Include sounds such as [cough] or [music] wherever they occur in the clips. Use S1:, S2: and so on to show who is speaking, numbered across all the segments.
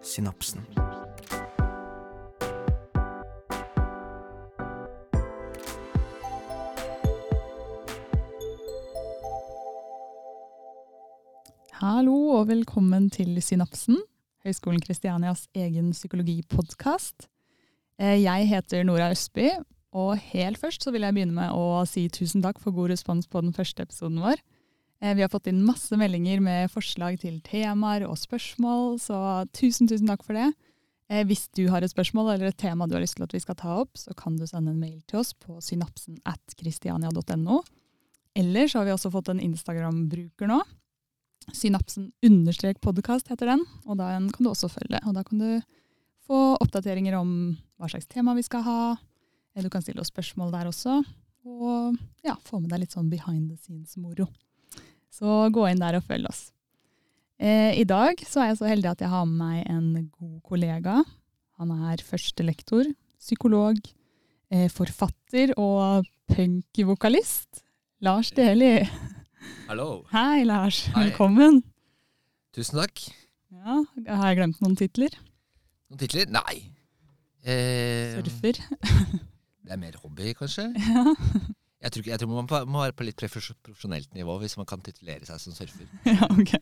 S1: synapsen.
S2: Hallo og velkommen til Synapsen, Høgskolen Kristianias egen psykologipodkast. Eh, Jeg heter Nora Østby, og helt først så vil jeg begynne med å si tusen takk for god respons på den første episoden vår. Eh, Vi har fått inn masse meldinger med forslag til temaer og spørsmål, så tusen, tusen takk for det. Eh, Hvis du har et spørsmål eller et tema du har lyst til at vi skal ta opp, så kan du sende en mail til oss på synapsen at kristiania.no. Eller så har vi også fått en Instagram-bruker nå. Synapsen understrek podkast heter den, og den kan du også følge. Og da kan du få oppdateringer om hva slags tema vi skal ha. Eh, Du kan stille oss spørsmål der også. Og ja, få med deg litt sånn behind the scenes-moro. Så gå inn der og følg oss. Eh, I dag så er jeg så heldig at jeg har med meg en god kollega. Han er førstelektor, psykolog, eh, forfatter og punkvokalist. Lars Deli.
S3: Hallo.
S2: Hei, Lars.
S3: Hei.
S2: Velkommen.
S3: Tusen takk.
S2: Ja, Har jeg glemt noen titler?
S3: Noen titler? Nei. Eh,
S2: Surfer. [laughs]
S3: det er mer hobby, kanskje?
S2: Ja.
S3: Jeg tror, ikke- jeg tror man må- må være på litt profes- profesjonelt nivå hvis man kan titulere seg som surfer.
S2: ja, ok.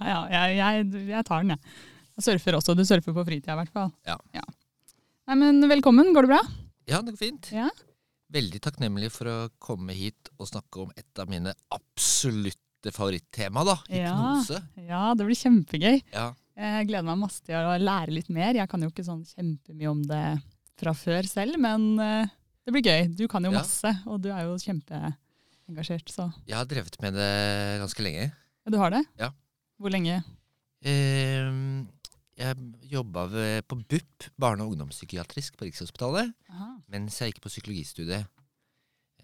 S2: Ja, ja, jeg, jeg, jeg tar den, jeg. Jeg surfer også. Du surfer på fritida, i hvert fall.
S3: Ja.
S2: Nei, men Velkommen. Går det bra?
S3: Ja, det går fint.
S2: Ja.
S3: Veldig takknemlig for å komme hit og snakke om et av mine absolutte favorittema, da.
S2: Ja.
S3: Hypnose.
S2: Ja, det blir kjempegøy.
S3: Ja.
S2: Jeg gleder meg masse til å lære litt mer. Jeg kan jo ikke sånn kjempemye om det fra før selv, men eh, det blir gøy. Du kan jo
S3: Ja.
S2: masse, og du er jo kjempeengasjert, så
S3: Jeg har drevet med det ganske lenge.
S2: ja, Du har det?
S3: Ja.
S2: Hvor lenge?
S3: Eh, jeg jobba ved- på BUP, barne- og ungdomspsykiatrisk, på Rikshospitalet.
S2: Aha.
S3: mens jeg gikk på psykologistudiet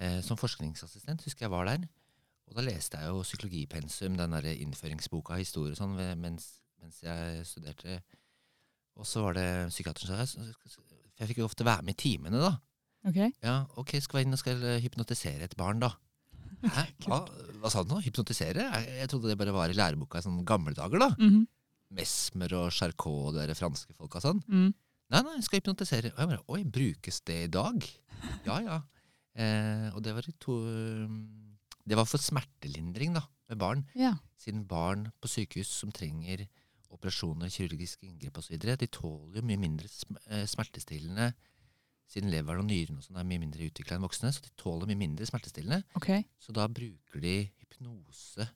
S3: eh, som forskningsassistent, husker jeg var der. Og da leste jeg jo psykologipensum, den derre innføringsboka, historie og sånn, ved- mens, mens jeg studerte. Og så var det psykiateren som sa «Jeg s- for Jeg fikk jo ofte være med i timene, da.
S2: Ok.
S3: Ja, OK, skal jeg inn og skal eh, hypnotisere et barn, da. Hæ? Hva, hva sa du nå? Hypnotisere? Jeg, jeg trodde det bare var i læreboka i sånne gamle dager, da.
S2: Mhm.
S3: Mesmer og Charcot og de der franske folka og sånn.
S2: mm.
S3: Nei, nei, jeg skal hypnotisere. Og jeg bare, oi, brukes det i dag? Ja, ja. Eh, og det var, i to, det var for smertelindring da, med barn.
S2: Ja.
S3: Siden barn på sykehus som trenger operasjoner, kirurgiske inngrep osv., de tåler jo mye mindre sm eh, smertestillende. Siden leveren og nyren og sånn er mye mindre utvikla enn voksne, så de tåler mye mindre smertestillende.
S2: Ok.
S3: Så da bruker de hypnose.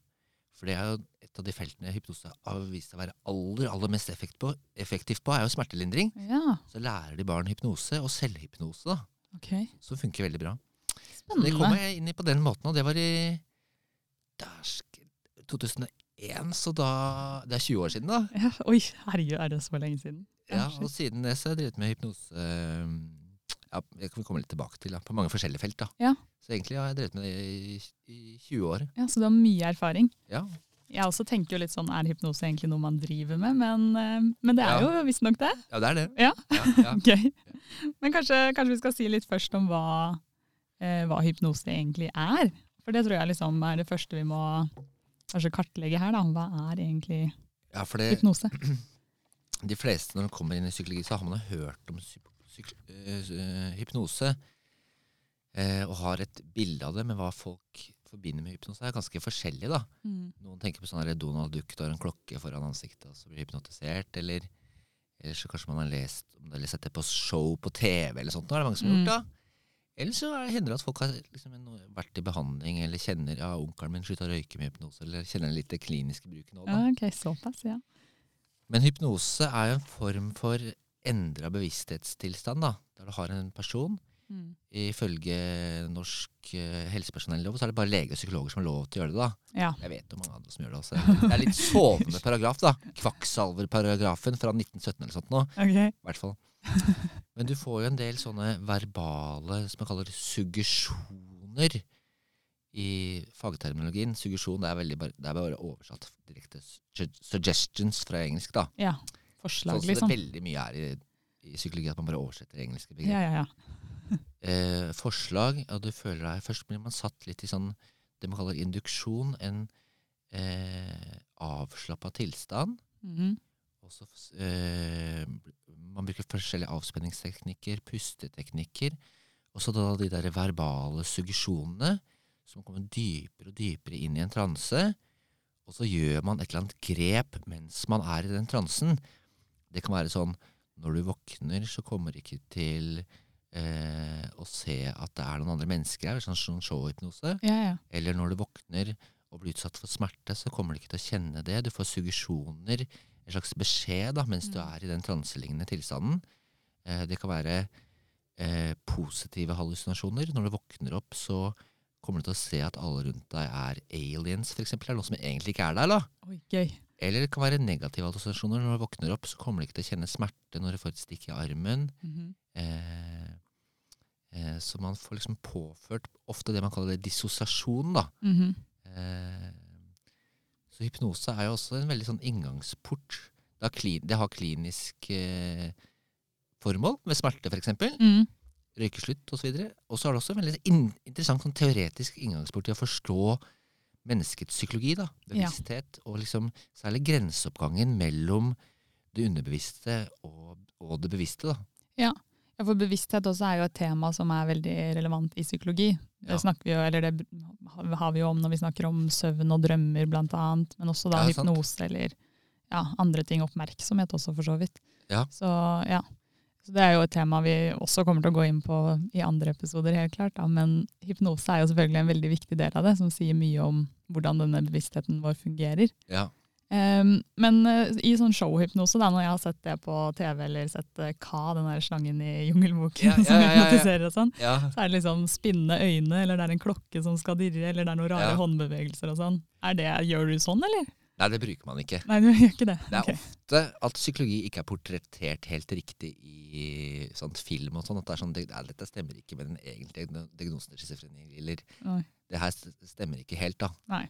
S3: For det er jo et av de feltene hypnose har vist seg å være aller, aller mest effekt på, effektivt på, er jo smertelindring.
S2: Ja.
S3: Så lærer de barn hypnose og selvhypnose, da,
S2: Ok.
S3: som funker veldig bra. Så det kom
S2: Spennende.
S3: jeg inn i på den måten, og det var i dæsken, 2001, så da Det er 20 år siden, da.
S2: Ja, oi, herregud, er det så lenge siden?
S3: Ja,
S2: shit.
S3: og siden det så har jeg drevet med hypnose øhm, ja, Det kan vi komme litt tilbake til, da, på mange forskjellige felt. da.
S2: Ja.
S3: Så egentlig har jeg drevet med det i, i 20 år.
S2: Ja, Så du har mye erfaring.
S3: Ja.
S2: Jeg også tenker jo litt sånn, er hypnose egentlig noe man driver med? Men, eh, men det er jo visstnok det. [laughs]
S3: ja, det er det.
S2: Ja.
S3: ja, ja.
S2: Gøy. Men kanskje, kanskje vi skal si litt først om hva, eh, hva hypnose egentlig er? For det tror jeg liksom er det første vi må kanskje kartlegge her. da. Hva er egentlig
S3: ja for
S2: [laughs]
S3: det,
S2: hypnose?
S3: de fleste når de kommer inn i psykologi, så har man jo hørt om psyk psyk øh, hypnose. eh, og har et bilde av det, men hva folk forbinder med hypnose, er ganske forskjellig. da.
S2: Mm.
S3: Noen tenker på sånn her Donald Duck, du har en klokke foran ansiktet og så blir du hypnotisert. Eller, eller så kanskje man har lest om det, eller sett det på show på TV, eller sånt. Nå er det mange som har
S2: Mm.
S3: gjort det. Eller så er det hender det at folk har liksom, en- vært i behandling, eller kjenner ja, onkelen min slutta å røyke med hypnose, eller kjenner litt det kliniske bruken òg.
S2: Ja, ok, såpass, ja.
S3: Men hypnose er jo en form for endra bevissthetstilstand, da. Der du har en person.
S2: Mm.
S3: Ifølge norsk eh, helsepersonellov så er det bare leger og psykologer som har lov til å gjøre det, da.
S2: Ja,
S3: Jeg vet jo mange andre som gjør det også. Det er litt sovende paragraf, da. Kvakksalverparagrafen fra 1917 eller sånt nå,
S2: ok.
S3: i hvert fall. Men du får jo en del sånne verbale, som man kaller suggesjoner i fagterminologien. Suggesjon det er, veldig bare, det er bare oversatt direkte. Sug- Suggestions fra engelsk, da.
S2: Ja,
S3: Sånn
S2: Forslag,
S3: som
S2: liksom.
S3: det veldig mye er i, i psykologi, at man bare oversetter engelske
S2: Ja,
S3: begreper.
S2: ja, ja.
S3: Eh, forslag, ja, du føler deg Først blir man satt litt i sånn det man kaller induksjon, en eh, avslappa tilstand.
S2: Mhm.
S3: også f- eh, Man bruker forskjellige avspenningsteknikker, pusteteknikker. Og så da de der verbale suggesjonene som kommer dypere og dypere inn i en transe. Og så gjør man et eller annet grep mens man er i den transen. Det kan være sånn når du våkner, så kommer du ikke til eh, å se at det er noen andre mennesker her. Sånn, sånn showhypnose.
S2: Ja, ja.
S3: Eller når du våkner og blir utsatt for smerte, så kommer du ikke til å kjenne det. Du får suggesjoner, en slags beskjed da, mens du
S2: Mm.
S3: er i den transelignende tilstanden. Eh, det kan være eh, positive hallusinasjoner. Når du våkner opp, så kommer du til å se at alle rundt deg er aliens, f.eks. Det er noen som egentlig ikke er der. da.
S2: Oi, gøy.
S3: Eller det kan være negative hallusinasjoner. Når du våkner opp, så kommer du ikke til å kjenne smerte når du får et stikk i armen.
S2: Mhm.
S3: Eh, eh, så man får liksom påført ofte det man kaller dissosiasjon, da.
S2: Mhm.
S3: Eh, Så hypnose er jo også en veldig sånn inngangsport. Det har, kli- det har klinisk eh, formål, med smerte f.eks.,
S2: Mm.
S3: røykeslutt osv. Og så er det også en veldig in interessant sånn teoretisk inngangsport til å forstå menneskets psykologi, da, bevissthet, og liksom særlig grenseoppgangen mellom det underbevisste og, og det bevisste. da.
S2: Ja, for bevissthet også er jo et tema som er veldig relevant i psykologi. Det,
S3: Ja.
S2: snakker vi jo, eller det br- har vi jo om når vi snakker om søvn og drømmer blant annet, men også da
S3: Ja, sant.
S2: hypnose eller ja, andre ting, oppmerksomhet også for så vidt.
S3: Ja.
S2: Så ja, så det er jo et tema vi også kommer til å gå inn på i andre episoder helt klart, da. men hypnose er jo selvfølgelig en veldig viktig del av det, som sier mye om hvordan denne bevisstheten vår fungerer.
S3: Ja.
S2: Ehm, men eh, i sånn showhypnose, da, når jeg har sett det på TV, eller sett eh, Ka, den der slangen i Jungelboken
S3: Ja, ja,
S2: [laughs] som
S3: ja, ja, ja.
S2: hypnotiserer og sånn,
S3: ja.
S2: så er det liksom spinnende øyne, eller det er en klokke som skal dirre, eller det er noen rare
S3: Ja.
S2: håndbevegelser og sånn. Er det, Gjør du sånn, eller?
S3: Nei, det bruker man ikke.
S2: Nei, [laughs] du gjør ikke det.
S3: Det er
S2: Ok.
S3: ofte at psykologi ikke er portrettert helt riktig i sånn film og sånn. At det er sånn det- Nei, dette stemmer ikke med den egentlige diagno- diagnosen til schizofreni. Eller
S2: Oi.
S3: det her st- stemmer ikke helt, da.
S2: Nei.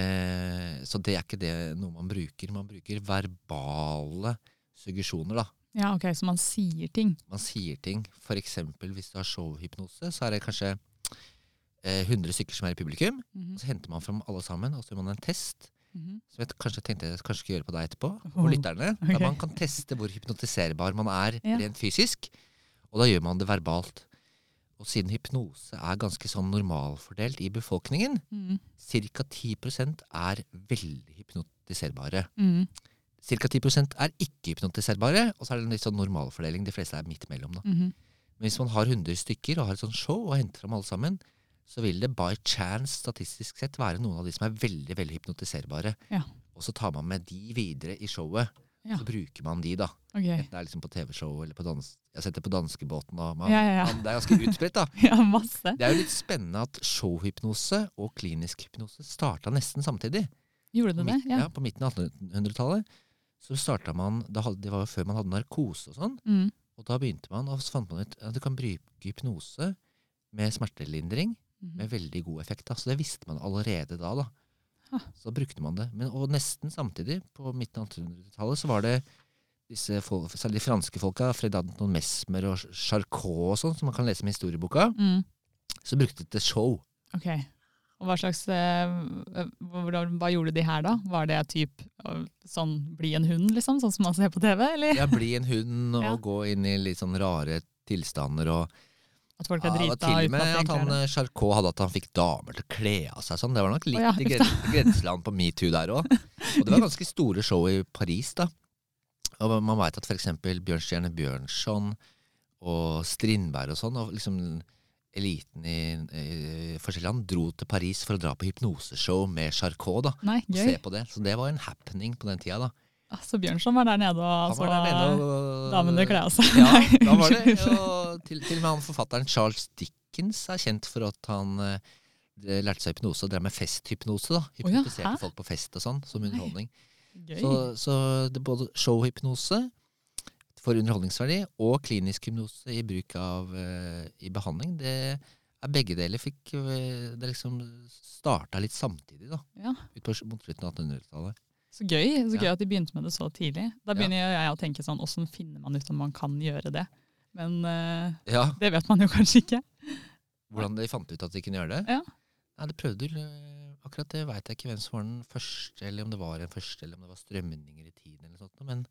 S3: Eh, så det er ikke det noe man bruker. Man bruker verbale suggesjoner, da.
S2: Ja, ok, så man sier ting.
S3: Man sier ting. For eksempel hvis du har showhypnose, så er det kanskje eh, 100 stykker som er i publikum. Og
S2: Mhm,
S3: så henter man fram alle sammen, og så gjør man en test.
S2: mhm.
S3: som jeg kanskje tenkte jeg kanskje skulle gjøre på deg etterpå,
S2: Oh,
S3: og lytterne.
S2: ok.
S3: Der man kan teste hvor hypnotiserbar man er
S2: Ja.
S3: rent fysisk. Og da gjør man det verbalt. Og siden hypnose er ganske sånn normalfordelt i befolkningen,
S2: Mhm,
S3: ca. 10 er veldig hypnotiserbare.
S2: mhm.
S3: Ca. 10 er ikke hypnotiserbare, og så er det en litt sånn normalfordeling. De fleste er midt mellom. da.
S2: Mhm.
S3: Men hvis man har 100 stykker og har et sånt show og henter fram alle sammen, så vil det by chance statistisk sett være noen av de som er veldig veldig hypnotiserbare.
S2: Ja.
S3: Og så tar man med de videre i showet.
S2: Ja.
S3: Så bruker man de, da.
S2: Ok.
S3: Enten det er liksom på TV-show eller på dans... Jeg har sett det på danskebåten. og
S2: Ja,
S3: Man,
S2: ja, ja.
S3: man, det er ganske utbredt, da.
S2: [laughs] Ja, masse.
S3: Det er jo litt spennende at showhypnose og klinisk hypnose starta nesten samtidig.
S2: Gjorde
S3: På,
S2: du det?
S3: midt, ja, på midten av 1800-tallet. Så starta man, da hadde- Det var jo før man hadde narkose og sånn.
S2: Mhm,
S3: Og da begynte man, og så fant man ut at du kan bruke hypnose med smertelindring
S2: mhm.
S3: med veldig god effekt. Da. Så det visste man allerede da. da.
S2: Ah.
S3: Så brukte man det. Men, og nesten samtidig, på midten av 1800-tallet, så var det disse folk, særlig de franske folka, Fred Anton Mesmer og Charcot og sånn, som man kan lese om i historieboka,
S2: Mhm.
S3: så brukte de det show.
S2: Ok. Og hva slags eh, hvordan- Hva gjorde de her, da? Var det typ eh, sånn bli en hund, liksom? Sånn som man ser på TV? Eller
S3: Ja, bli en hund og
S2: Ja.
S3: gå inn i litt sånn rare tilstander og
S2: at folk er
S3: Ja, det var
S2: drita
S3: til og
S2: uten
S3: med
S2: at de
S3: at han
S2: egentlig er det?
S3: eh, Charcot hadde at han fikk damer til å kle av seg sånn. Det var nok litt
S2: Å ja,
S3: i
S2: uff da.
S3: gren-
S2: [laughs]
S3: grenseland på metoo der òg. Og det var ganske store show i Paris, da. Og man veit at f.eks. Bjørnstjerne Bjørnson og Strindberg og sånn, og liksom eliten i, eh, forskjellige land, dro til Paris for å dra på hypnoseshow med Charcot, da.
S2: Nei,
S3: Og eh, se
S2: gøy.
S3: på det. Så det var en happening på den tida, da.
S2: Altså, Bjørnson var der nede og
S3: Han
S2: så
S3: var der nede og
S2: Altså, damene kle av seg.
S3: ja,
S2: [laughs]
S3: da var det.
S2: Unnskyld.
S3: Og til, til og med han forfatteren Charles Dickens er kjent for at han eh, de- lærte seg hypnose og drev med festhypnose. da.
S2: Å ja,
S3: Hypnotiserte
S2: hæ?
S3: folk på fest og sånn som underholdning.
S2: Gøy.
S3: Så, så det er både showhypnose for underholdningsverdi og klinisk hypnose i bruk av eh, i behandling, det er begge deler fikk eh, Det liksom starta litt samtidig, da.
S2: Ja.
S3: Ut på, mot slutten av 1800-tallet.
S2: Så gøy så gøy
S3: Ja.
S2: at de begynte med det så tidlig. Da begynner jeg å tenke sånn, åssen finner man ut om man kan gjøre det? Men eh,
S3: Ja,
S2: det vet man jo kanskje ikke.
S3: Hvordan de fant ut at de kunne gjøre det?
S2: Ja.
S3: Nei, det prøvde eh, Akkurat det veit jeg ikke hvem som var den første, eller om det var den første, eller om det var strømninger i tiden, eller noe sånt, men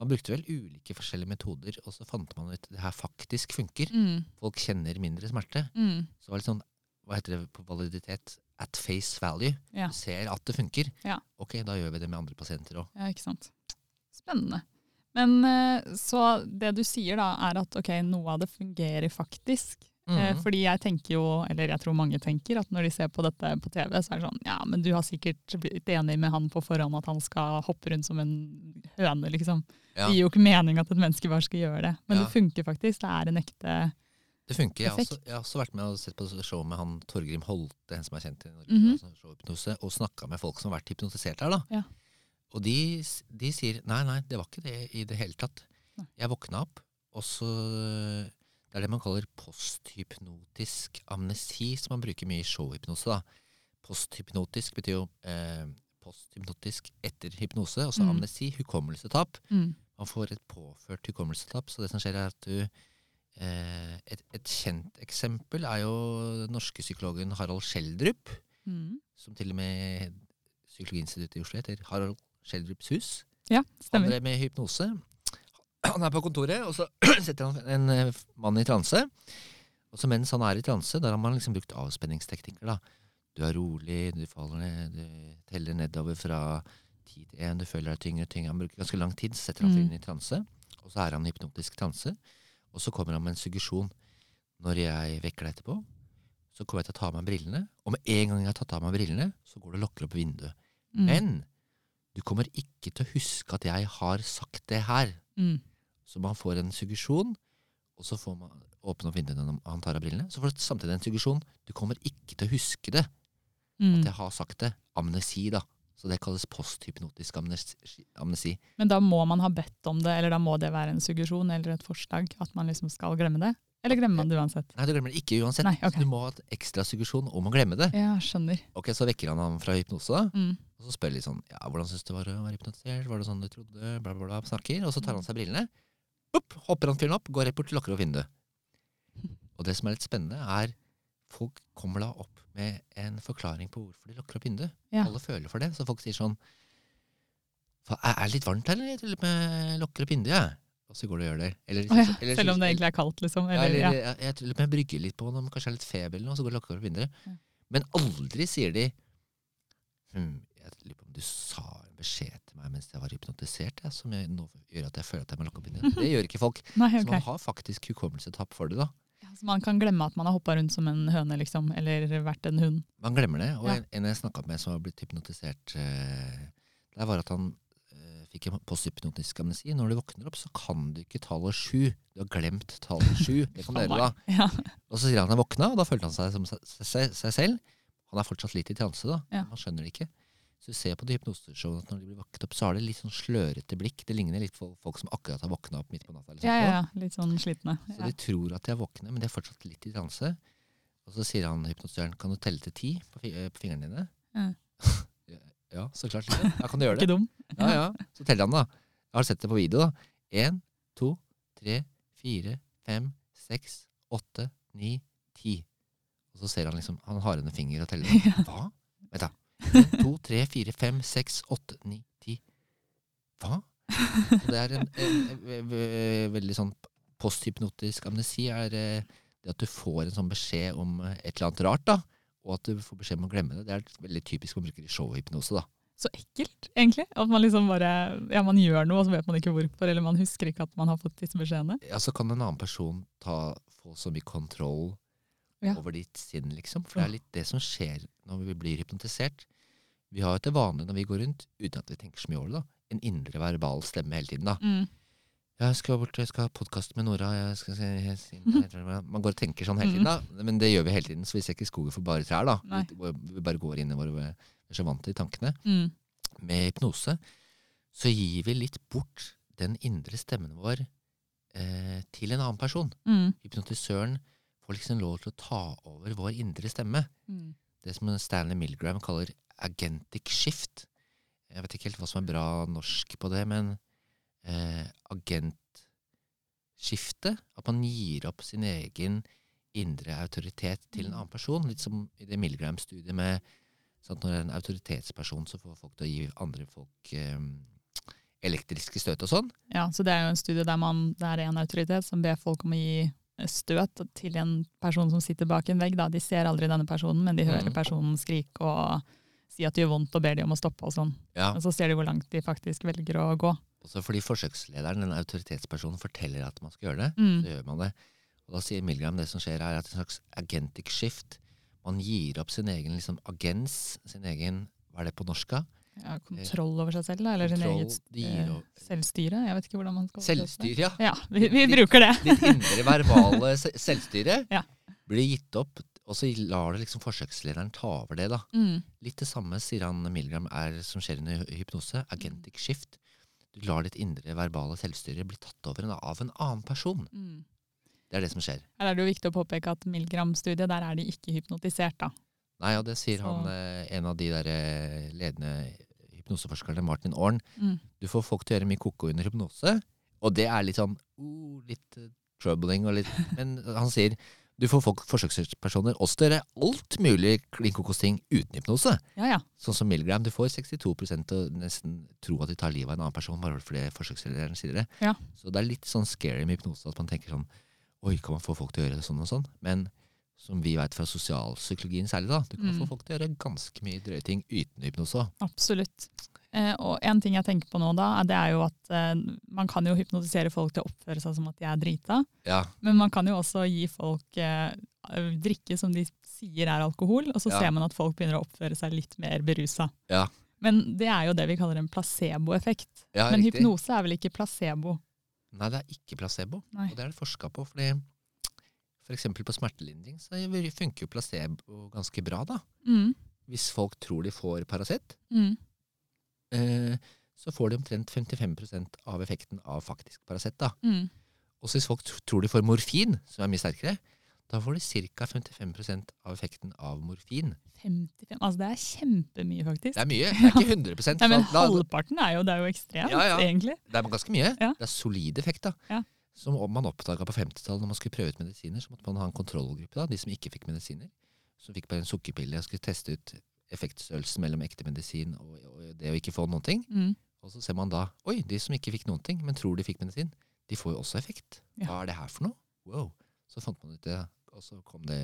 S3: Man brukte vel ulike forskjellige metoder, og så fant man ut det her faktisk funker.
S2: Mm,
S3: Folk kjenner mindre smerte.
S2: mm,
S3: Så var det sånn, hva heter det på validitet? At face value.
S2: Ja.
S3: Du ser at det funker.
S2: Ja.
S3: Ok, da gjør vi det med andre pasienter òg.
S2: ja, ikke sant. Spennende. Men eh, så det du sier da, er at ok, noe av det fungerer faktisk. Eh,
S3: Mm. Mhm.
S2: Fordi jeg tenker jo, eller jeg tror mange tenker, at når de ser på dette på TV, så er det sånn Ja, men du har sikkert blitt enig med han på forhånd at han skal hoppe rundt som en høne, liksom.
S3: Ja.
S2: Det gir jo ikke mening at et menneske bare skal gjøre det. Men
S3: Ja.
S2: det funker faktisk. Det er en ekte
S3: Det funker. Jeg har, også,
S2: Perfekt.
S3: jeg har også vært med og sett på show med han Torgrim Holte, en som er kjent i Norge,
S2: Mhm.
S3: altså showhypnose, og snakka med folk som har vært hypnotisert her. da.
S2: Ja.
S3: Og de, s- de sier nei, nei, det var ikke det i det hele tatt.
S2: Nei.
S3: Jeg våkna opp, og så Det er det man kaller posthypnotisk amnesi, som man bruker mye i showhypnose. da. Posthypnotisk betyr jo eh, posthypnotisk etter hypnose, og så
S2: Mm.
S3: amnesi, hukommelsetap.
S2: mm,
S3: Man får et påført hukommelsetap. Så det som skjer, er at du eh, et, et kjent eksempel er jo den norske psykologen Harald Schjelderup,
S2: mm.
S3: som til og med Psykologinstituttet i Oslo heter Harald Schjelderups hus.
S2: Ja,
S3: Han
S2: stemmer.
S3: drev med hypnose. Han er på kontoret, og så [clears throat] setter han en eh, mann i transe. Og så mens han er i transe, der har man liksom brukt avspenningsteknikker, da. Du er rolig, du faller ned, du teller nedover fra ti til én, du føler deg tyngre og tyngre. Han bruker ganske lang tid, så setter han
S2: Mm.
S3: fyren i transe. Og så er han i hypnotisk transe. Og så kommer han med en suggesjon. Når jeg vekker deg etterpå, så kommer jeg til å ta av meg brillene. Og med en gang jeg har tatt av meg brillene, så går du og lukker opp vinduet.
S2: Mm,
S3: Men du kommer ikke til å huske at jeg har sagt det her.
S2: mm,
S3: Så man får en suggesjon, og så får man åpne opp vinduene når han tar av brillene. Så får du samtidig en suggesjon. Du kommer ikke til å huske det,
S2: mm.
S3: at jeg har sagt det. Amnesi, da. Så det kalles posthypnotisk amnesi. amnesi.
S2: Men da må man ha bedt om det, eller da må det være en suggesjon eller et forslag at man liksom skal glemme det? Eller glemmer man det uansett?
S3: Nei, du glemmer det ikke uansett.
S2: Nei, ok.
S3: Så du må ha et ekstra suggesjon om å glemme det.
S2: Ja, skjønner.
S3: Ok, Så vekker han ham fra hypnose, da.
S2: Mm,
S3: Og så spør de litt sånn Ja, hvordan syns du det var å være hypnotisert? Var det sånn du trodde? Bla, bla, bla. Snakker. Og så tar han seg brillene. Opp, hopper han fyren opp, går rett bort, lukker opp vinduet. Og det som er litt spennende, er folk kommer da opp med en forklaring på hvorfor de lukker opp vinduet.
S2: Ja.
S3: Alle føler for det. Så folk sier sånn «Fa- Er er det litt varmt her, eller? Jeg til og med lukker opp vinduet, jeg. Og så går de og gjør det. Eller,
S2: Å ja,
S3: eller-
S2: selv om det egentlig er kaldt, liksom.
S3: ja,
S2: Eller,
S3: eller, eh,
S2: ja.
S3: Jeg, jeg til og med brygger litt på når man kanskje har litt feber, eller noe, så går det lukker opp vinduet.
S2: Ja.
S3: Men aldri sier de hm, jeg lurer på om du sa en beskjed til meg mens jeg var hypnotisert, jeg, som jeg, nå gjør at jeg føler at jeg må lukke opp vinduet. Det gjør ikke
S2: [laughs]
S3: folk.
S2: Nei,
S3: Så
S2: ok.
S3: man har faktisk hukommelsetap for det, da.
S2: Ja, Så man kan glemme at man har hoppa rundt som en høne, liksom, eller vært en hund.
S3: Man glemmer det. Og
S2: Ja.
S3: en- en jeg snakka med som har blitt hypnotisert eh, der var at han eh, fikk en posthypnotisk amnesi. Når du våkner opp, så kan du ikke tallet sju. Du har glemt tallet
S2: [laughs]
S3: sju. Det kan
S2: Faen
S3: dere,
S2: meg.
S3: da.
S2: Ja.
S3: Og så sier han at han våkna, og da følte han seg som seg, seg, seg selv. Han er fortsatt litt i transe, da.
S2: Ja.
S3: Han skjønner det ikke. Så du ser på de hypnoseshowene at når de blir vakket opp, så har de litt sånn slørete blikk. Det ligner litt på folk som akkurat har våkna opp midt på natta. eller
S2: Ja,
S3: sånt
S2: ja,
S3: nå.
S2: ja. Litt sånn slitne.
S3: Så de tror at de er våkne, men de er fortsatt litt i transe. Og så sier han hypnotisøren kan du telle til ti på, fi- eh, på fingrene dine.
S2: Ja.
S3: [laughs] ja, så klart. Liksom. Da kan du gjøre det.
S2: Ikke dum.
S3: Ja, ja. Så teller han, da. Jeg har sett det på video. da. Én, to, tre, fire, fem, seks, åtte, ni, ti. Og så ser han liksom Han har en finger og teller. Hva? Vent, da. En, to, tre, fire, fem, seks, åtte, ni, ti. Hva? Så det er en, en, ve- ve- veldig sånn posthypnotisk amnesi. er eh, det at du får en sånn beskjed om eh, et eller annet rart, da. Og at du får beskjed om å glemme det. Det er veldig typisk man bruker i showhypnose, da.
S2: Så ekkelt, egentlig. At man liksom bare Ja, man gjør noe, og så vet man ikke hvorfor, eller man husker ikke at man har fått disse beskjedene.
S3: ja, så kan en annen person ta, få så mye kontroll
S2: Ja.
S3: over ditt sinn, liksom. For det er litt det som skjer når vi blir hypnotisert. Vi har jo til vanlig når vi går rundt, uten at vi tenker så mye over det, da, en indre verbal stemme hele tiden. da.
S2: Mm.
S3: Jeg skal bort, jeg skal ha podkast med Nora jeg skal, se- jeg,
S2: [laughs]
S3: skal- Man går og tenker sånn hele tiden, da. Men det gjør vi hele tiden, så vi ser ikke skogen for bare trær. da.
S2: Mhm. Nei.
S3: Vi, går- vi bare går inn i våre Vi er så vant til tankene.
S2: Mm.
S3: Med hypnose så gir vi litt bort den indre stemmen vår eh, til en annen person
S2: Mm.
S3: hypnotisøren får liksom lov til å ta over vår indre stemme.
S2: Mm.
S3: Det som Stanley Milgram kaller agentic shift. Jeg vet ikke helt hva som er bra norsk på det, men eh, agentskifte At man gir opp sin egen indre autoritet til en annen person. Litt som i det Milgram-studiet med sånn at når det er en autoritetsperson, så får folk til å gi andre folk eh, elektriske støt og sånn.
S2: Ja, så det er jo en studie der man, det er en autoritet som ber folk om å gi støt til en person som sitter bak en vegg. Da. De ser aldri denne personen, men de hører
S3: Mhm.
S2: personen skrike og si at det gjør vondt og ber de om å stoppe og sånn.
S3: Ja.
S2: Og så ser de hvor langt de faktisk velger å gå.
S3: Også fordi forsøkslederen, den autoritetspersonen, forteller at man skal gjøre det,
S2: Mm.
S3: så gjør man det. Og da sier Milgram det som skjer her, er at en slags agentic shift. Man gir opp sin egen liksom, agens, sin egen Hva er det på norsk? da?
S2: Ja, kontroll over seg selv, da, eller sin
S3: Eh, Kontroll,
S2: eget
S3: de
S2: eh,
S3: gir opp-
S2: selvstyre. Jeg vet ikke hvordan man skal oversette det.
S3: Selvstyr, ja.
S2: Ja, vi, vi bruker det.
S3: Ditt indre verbale se- selvstyre
S2: Ja.
S3: blir gitt opp, og så lar det liksom forsøkslederen ta over det. da.
S2: Mm.
S3: Litt det samme, sier han Milgram, er som skjer under hy- hypnose. Agentic shift. Du lar ditt indre verbale selvstyre bli tatt over en- av en annen person.
S2: Mm.
S3: Det er det som skjer.
S2: Her er det jo viktig å påpeke at Milgram-studiet, der er de ikke hypnotisert, da.
S3: Nei, og det sier
S2: Så-
S3: han, eh, en av de der eh, ledende hypnoseforskerne, Martin Orn.
S2: Mm.
S3: Du får folk til å gjøre mye koko under hypnose, og det er litt sånn oh, litt eh, troubling og litt
S2: [laughs]
S3: Men han sier du får folk, forsøkspersoner også til å gjøre alt mulig klin kokos ting uten hypnose.
S2: Ja, ja.
S3: Sånn som Milgram, du får 62 til å nesten tro at de tar livet av en annen person bare fordi forsøkslederen sier det.
S2: Ja.
S3: Så det er litt sånn scary med hypnose at man tenker sånn Oi, kan man få folk til å gjøre det sånn og sånn? Men som vi veit fra sosialpsykologien særlig, da, du kan
S2: Mm.
S3: få folk til å gjøre ganske mye drøye ting uten hypnose.
S2: Absolutt. Eh, og en ting jeg tenker på nå, da, er- det er jo at eh, man kan jo hypnotisere folk til å oppføre seg som at de er drita,
S3: Ja,
S2: men man kan jo også gi folk eh, drikke som de sier er alkohol, og så
S3: Ja.
S2: ser man at folk begynner å oppføre seg litt mer berusa.
S3: Ja.
S2: Men det er jo det vi kaller en placeboeffekt.
S3: ja
S2: Men
S3: riktig.
S2: hypnose er vel ikke placebo?
S3: Nei, det er ikke placebo.
S2: Nei.
S3: Og det er det forska på. fordi for eksempel på smertelindring så funker jo placebo ganske bra, da.
S2: Mm,
S3: Hvis folk tror de får Paracet,
S2: mm,
S3: eh, så får de omtrent 55 av effekten av faktisk Paracet, da.
S2: mm.
S3: Og hvis folk tr- tror de får morfin, som er mye sterkere, da får de ca. 55 av effekten av morfin.
S2: 55, altså det er kjempemye faktisk.
S3: Det er mye. Det er ikke 100
S2: Nei, men
S3: for da-
S2: halvparten er jo, det er jo ekstremt,
S3: altså. Ja, ja.
S2: egentlig.
S3: Det er ganske mye.
S2: Ja.
S3: Det er solid effekt. da.
S2: Ja.
S3: Som om man oppdaga på 50-tallet, når man skulle prøve ut medisiner, så måtte man ha en kontrollgruppe. da, De som ikke fikk medisiner. Som fikk bare en sukkerpille og skulle teste ut effektstørrelsen mellom ekte medisin og, og det å ikke få noen ting.
S2: Mm.
S3: Og så ser man da Oi, de som ikke fikk noen ting, men tror de fikk medisin, de får jo også effekt.
S2: Ja.
S3: Hva er det her for noe? Wow. Så fant man ut det, og så kom det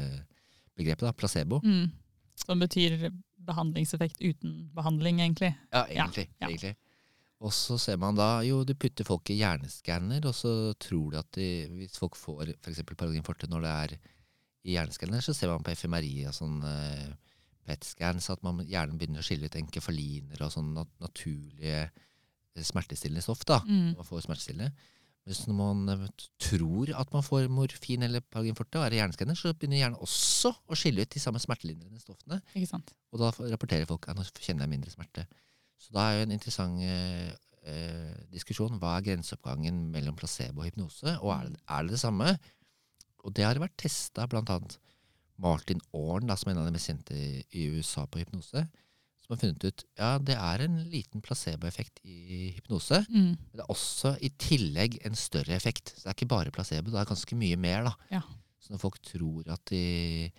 S3: begrepet, da. Placebo.
S2: Mm. Som betyr behandlingseffekt uten behandling, egentlig.
S3: Ja, egentlig.
S2: ja.
S3: egentlig. Og så ser man da jo du putter folk i hjerneskanner, og så tror de at de, hvis folk får f.eks. Paralin forte når det er i hjerneskanner, så ser man på FMRI og sånn eh, PET-scans at man hjernen begynner å skille ut enkefaliner og sånn nat naturlige eh, smertestillende stoff. da,
S2: Mm.
S3: når man får smertestillende. Mens når man eh, tror at man får morfin eller Paralin forte og er i hjerneskanner, så begynner hjernen også å skille ut de samme smertelindrende stoffene.
S2: Ikke sant?
S3: Og da får- rapporterer folk at nå kjenner jeg mindre smerte. Så da er jo en interessant eh, eh, diskusjon. Hva er grenseoppgangen mellom placebo og hypnose? Og er det er det, det samme? Og det har vært testa bl.a. Martin Orn, da, som er en av de mest kjente i- i USA på hypnose, som har funnet ut ja, det er en liten placeboeffekt i hypnose.
S2: Mm.
S3: Men det er også i tillegg en større effekt. Så det er ikke bare placebo, det er ganske mye mer. da.
S2: Ja.
S3: Så når folk tror at de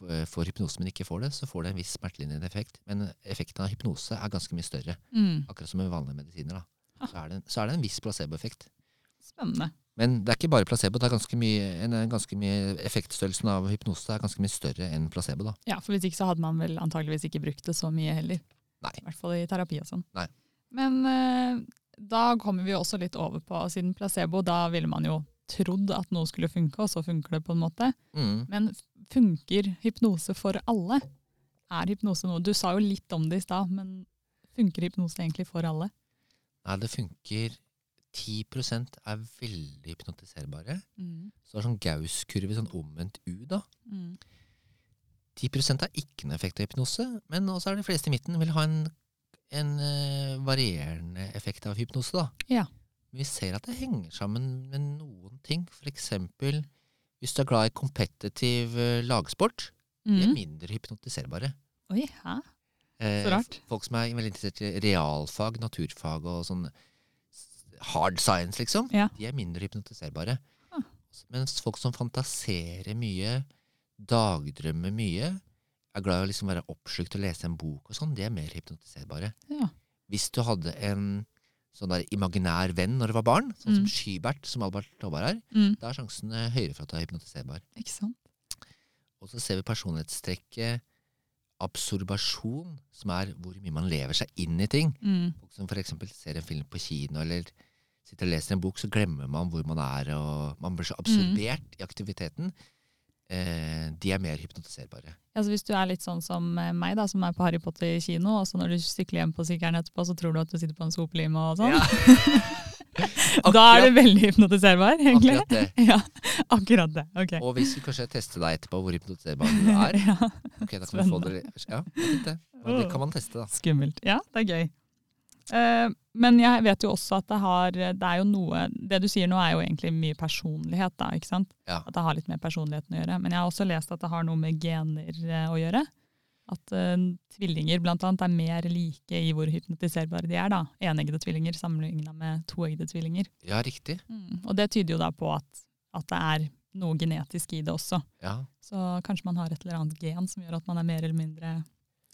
S3: f- får hypnose, men ikke får det, så får det en viss smertelindrende effekt. Men effekten av hypnose er ganske mye større.
S2: Mm.
S3: Akkurat som med vanlige medisiner. da.
S2: Ah.
S3: Så er det en, så er det en viss placeboeffekt.
S2: Spennende.
S3: Men det er ikke bare placebo. det er ganske mye, en, en ganske mye, Effektstørrelsen av hypnose er ganske mye større enn placebo. da.
S2: Ja, for hvis ikke så hadde man vel antageligvis ikke brukt det så mye heller.
S3: Nei.
S2: I hvert fall i terapi og sånn.
S3: Nei.
S2: Men eh, da kommer vi jo også litt over på, siden placebo, da ville man jo trodd at noe skulle funke, og så funker det på en måte.
S3: Mm.
S2: Men f- funker hypnose for alle? Er hypnose noe? Du sa jo litt om det i stad, men funker hypnose egentlig for alle?
S3: Nei, det funker 10 er veldig hypnotiserbare. Så det er sånn Gauss-kurve, sånn omvendt U, da.
S2: Mm.
S3: 10 har ikke noen effekt av hypnose, men også er de fleste i midten vil ha en, en eh, varierende effekt av hypnose. Da.
S2: Ja.
S3: Men Vi ser at det henger sammen med noen ting. F.eks. hvis du er glad i kompetitiv eh, lagsport, de er
S2: Mm.
S3: mindre hypnotiserbare.
S2: Oi, hæ?
S3: Eh,
S2: Så rart.
S3: Folk som er veldig interessert i realfag, naturfag og sånn s- hard science, liksom,
S2: Ja.
S3: de er mindre hypnotiserbare.
S2: Ah.
S3: Mens folk som fantaserer mye, dagdrømmer mye, er glad i å liksom være oppslukt og lese en bok og sånn, de er mer hypnotiserbare.
S2: Ja.
S3: Hvis du hadde en sånn der imaginær venn når du var barn, sånn
S2: Mm.
S3: som Skybert, som Albert Håberg er,
S2: Mm.
S3: da er sjansen eh, høyere for at du er hypnotiserbar.
S2: Ikke sant?
S3: Og så ser vi personlighetstrekket absorbasjon, som er hvor mye man lever seg inn i ting.
S2: Mm.
S3: Folk som f.eks. ser en film på kino eller sitter og leser en bok, så glemmer man hvor man er, og man blir så absorbert i aktiviteten. Eh, de er mer hypnotiserbare.
S2: Altså hvis du er litt sånn som eh, meg, da, som er på Harry Potter kino, og så når du sykler hjem på sykkelen etterpå, så tror du at du sitter på en sopelime og [laughs] sånn. da er du veldig hypnotiserbar, egentlig.
S3: Akkurat det.
S2: Ja, [laughs] akkurat det. Ok.
S3: Og hvis vi kanskje tester deg etterpå hvor hypnotiserbar du er
S2: [laughs] Ja,
S3: ok, da kan vi få det, ja, det er fint det. Og det kan man teste, da.
S2: skummelt. Ja, det er gøy. Eh, men jeg vet jo også at det har Det er jo noe Det du sier nå, er jo egentlig mye personlighet, da, ikke sant?
S3: Ja.
S2: At det har litt med personligheten å gjøre. Men jeg har også lest at det har noe med gener eh, å gjøre. At eh, tvillinger blant annet er mer like i hvor hypnotiserbare de er, da. Eneggede tvillinger sammenligna med toeggede tvillinger.
S3: Ja, riktig.
S2: Og det tyder jo da på at, at det er noe genetisk i det også.
S3: Ja,
S2: Så kanskje man har et eller annet gen som gjør at man er mer eller mindre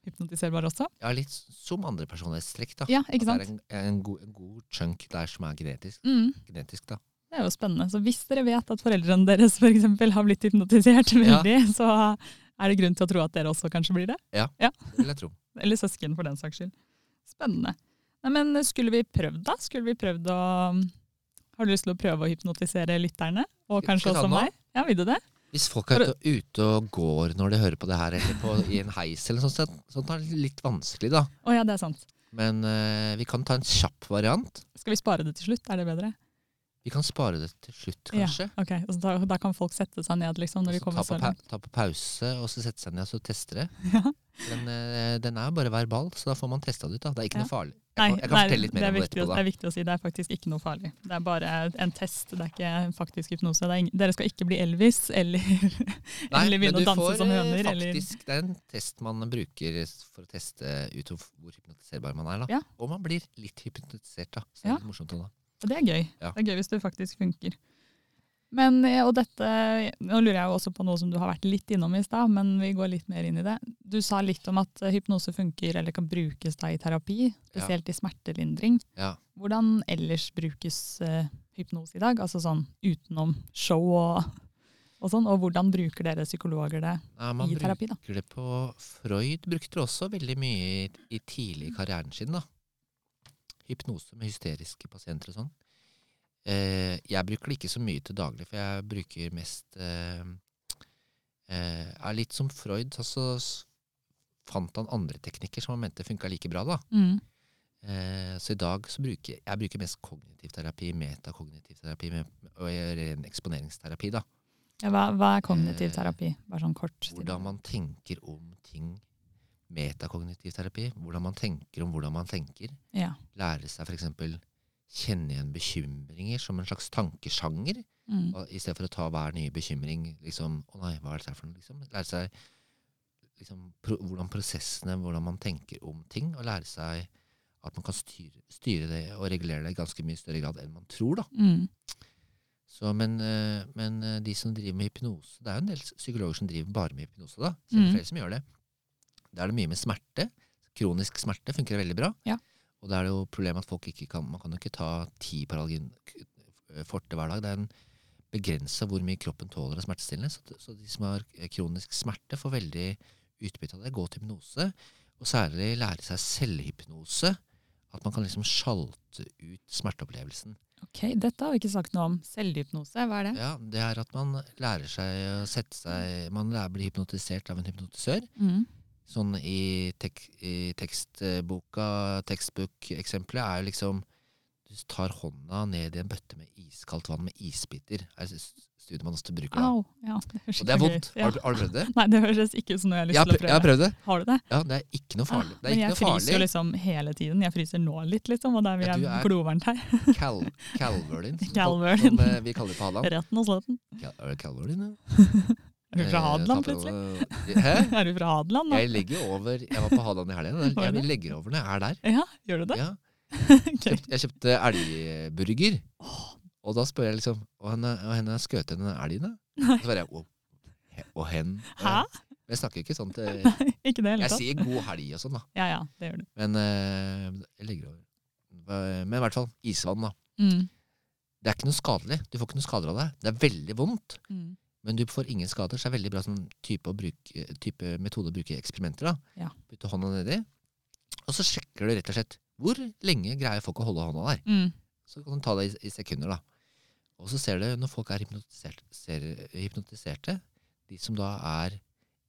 S2: hypnotiserbar også.
S3: ja litt som andre personlighetstrekk, da.
S2: Ja, ikke
S3: At Det
S2: sant?
S3: er en, en, god, en god chunk der som er genetisk,
S2: Mm,
S3: genetisk da.
S2: det er jo spennende. Så hvis dere vet at foreldrene deres for eksempel, har blitt hypnotisert veldig, så er det grunn til å tro at dere også kanskje blir det.
S3: Det vil jeg tro.
S2: Eller søsken, for den saks skyld. Spennende. Nei, men skulle vi prøvd, da? Skulle vi prøvd å Har du lyst til å prøve å hypnotisere lytterne? Og
S3: Skal-
S2: kanskje
S3: skal vi ta
S2: også
S3: den nå?
S2: meg? Ja, vil du det?
S3: Hvis folk er ute, ute og går når de hører på det her, eller på, i en heis eller sånt, sånt, sånt er det litt vanskelig, da.
S2: Å ja, det er sant.
S3: Men eh, vi kan ta en kjapp variant.
S2: Skal vi spare det til slutt? Er det bedre?
S3: Vi kan spare det til slutt, kanskje.
S2: Ok, så da, da kan folk sette seg ned liksom, når de
S3: Og så
S2: kommer
S3: ta,
S2: så
S3: på,
S2: langt.
S3: pa- ta på pause, og så sette seg ned og så teste det.
S2: [laughs] Ja.
S3: Den, eh, den er jo bare verbal, så da får man testa det ut. da. Det er ikke
S2: Ja.
S3: noe farlig. Jeg
S2: Nei,
S3: kan, jeg kan
S2: nei,
S3: fortelle litt mer
S2: det er
S3: om det
S2: viktig å-
S3: etterpå. da.
S2: Det er viktig å si. Det er faktisk ikke noe farlig. Det er bare en test. Det er ikke en faktisk hypnose. Det er ingen, dere skal ikke bli Elvis eller, [laughs]
S3: Nei, men
S2: eller
S3: du
S2: begynne å danse
S3: får
S2: som
S3: eh,
S2: høner. Eller,
S3: faktisk, Det er en test man bruker for å teste ut hvor hvor hypnotiserbar man er. da.
S2: Ja.
S3: Og man blir litt hypnotisert, da. Så det
S2: Ja.
S3: er litt morsomt. da.
S2: og det er gøy.
S3: Ja.
S2: Det er gøy hvis det faktisk funker. Men, eh, og dette, Nå lurer jeg jo også på noe som du har vært litt innom i stad, men vi går litt mer inn i det. Du sa litt om at eh, hypnose funker eller kan brukes da i terapi,
S3: Ja.
S2: spesielt i smertelindring.
S3: Ja.
S2: Hvordan ellers brukes eh, hypnose i dag? Altså sånn utenom show og, og sånn. Og hvordan bruker dere psykologer det
S3: Nei, man
S2: i terapi, da?
S3: bruker det på Freud brukte det også veldig mye i, i tidlig i karrieren sin. da. Hypnose med hysteriske pasienter og sånn. Eh, jeg bruker det ikke så mye til daglig, for jeg bruker mest eh, eh, er Litt som Freud, så, så s- fant han andre teknikker som han mente funka like bra. da.
S2: Mm.
S3: Eh, så i dag så bruker jeg bruker mest kognitiv terapi, metakognitiv terapi med, og jeg gjør ren eksponeringsterapi. da.
S2: Ja, hva, hva er
S3: Eh,
S2: kognitiv terapi? Bare sånn kort. til-
S3: Hvordan man tenker om ting. Metakognitiv terapi. Hvordan man tenker om hvordan man tenker.
S2: Ja.
S3: Lære seg f.eks. kjenne igjen bekymringer som en slags tankesjanger.
S2: Mm.
S3: og I stedet for å ta hver nye bekymring liksom, 'Å nei, hva er dette her for noe?' Liksom. Lære seg liksom, pro hvordan prosessene, hvordan man tenker om ting. Og lære seg at man kan styre, styre det og regulere det i ganske mye større grad enn man tror. da.
S2: Mm.
S3: Så, men, eh, men eh, de som driver med hypnose Det er jo en del s- psykologer som driver bare med hypnose. da. Så det er
S2: Mm.
S3: flere som gjør det. Da er det mye med smerte. Kronisk smerte funker veldig bra.
S2: Ja.
S3: Og da er det jo problemet at folk ikke kan Man kan jo ikke ta ti paralgin k- eh, forte hver dag. Det er en begrensa hvor mye kroppen tåler av smertestillende. Så, t- så de som har eh, kronisk smerte, får veldig utbytte av det. Gå til hypnose. Og særlig lære seg selvhypnose. At man kan liksom sjalte ut smerteopplevelsen.
S2: Ok, dette har vi ikke sagt noe om. Selvhypnose, hva er det?
S3: Ja, det er at man lærer seg å sette seg Man lærer, blir hypnotisert av en hypnotisør.
S2: Mm.
S3: Sånn i, tek, i tekstboka, tekstbook-eksempelet, er jo liksom Du tar hånda ned i en bøtte med iskaldt vann med isbiter. Er det s- studiet man også bruker da.
S2: Au. Ja, det høres
S3: Og det er
S2: ikke
S3: vondt.
S2: gøy ut. Ja.
S3: Har, du- har du prøvd det?
S2: Nei, det høres ikke ut som noe jeg har [laughs] lyst
S3: Jeg har,
S2: til å
S3: prøvd, jeg har
S2: prøve.
S3: prøvd det.
S2: Har du det? Ah,
S3: Ja, det er ikke noe farlig. Det er
S2: Men
S3: ikke
S2: jeg
S3: noe
S2: fryser jo
S3: farlig.
S2: liksom hele tiden. Jeg fryser nå litt, liksom, og der vil
S3: Ja,
S2: jeg
S3: du er-
S2: glovarmt her.
S3: Cal, Calverlin,
S2: [laughs]
S3: som,
S2: Calverlin.
S3: som eh, vi kaller det på
S2: [laughs]
S3: Hadeland.
S2: Retten og slåtten.
S3: Cal, er det Calverlin, ja?
S2: Er du fra
S3: Eh,
S2: Hadeland,
S3: tapper-
S2: plutselig?
S3: Hæ?
S2: [laughs] Er du fra Hadeland nå?
S3: Jeg legger over Jeg var på Hadeland i helgen.
S2: [laughs] Var
S3: Jeg,
S2: du
S3: jeg legger over når jeg er der.
S2: Ja, gjør du det?
S3: Ja.
S2: [laughs] Ok.
S3: Kjøpt, jeg kjøpte elgburger. Og da spør jeg liksom Og henne, og henne har skjøt den elgen, da? Og så bare jeg, og, he- og hen og-
S2: Hæ?
S3: Men jeg snakker ikke sånn
S2: [laughs]
S3: til
S2: Ikke det hele
S3: Jeg
S2: tatt?
S3: sier god helg og sånn, da.
S2: Ja ja, det gjør du.
S3: Men eh, jeg legger over Men i hvert fall isvann, da.
S2: Mm.
S3: Det er ikke noe skadelig. Du får ikke noe skader av det. Det er veldig vondt,
S2: Mm.
S3: men du får ingen skader. Så det er veldig bra sånn type, å bruke, type metode å bruke i eksperimenter. da.
S2: Ja.
S3: Putte hånda nedi, og så sjekker du rett og slett hvor lenge greier folk å holde hånda der.
S2: Mm.
S3: Så kan du ta det i, i sekunder, da. Og så ser du, når folk er hypnotisert, ser, hypnotiserte, de som da er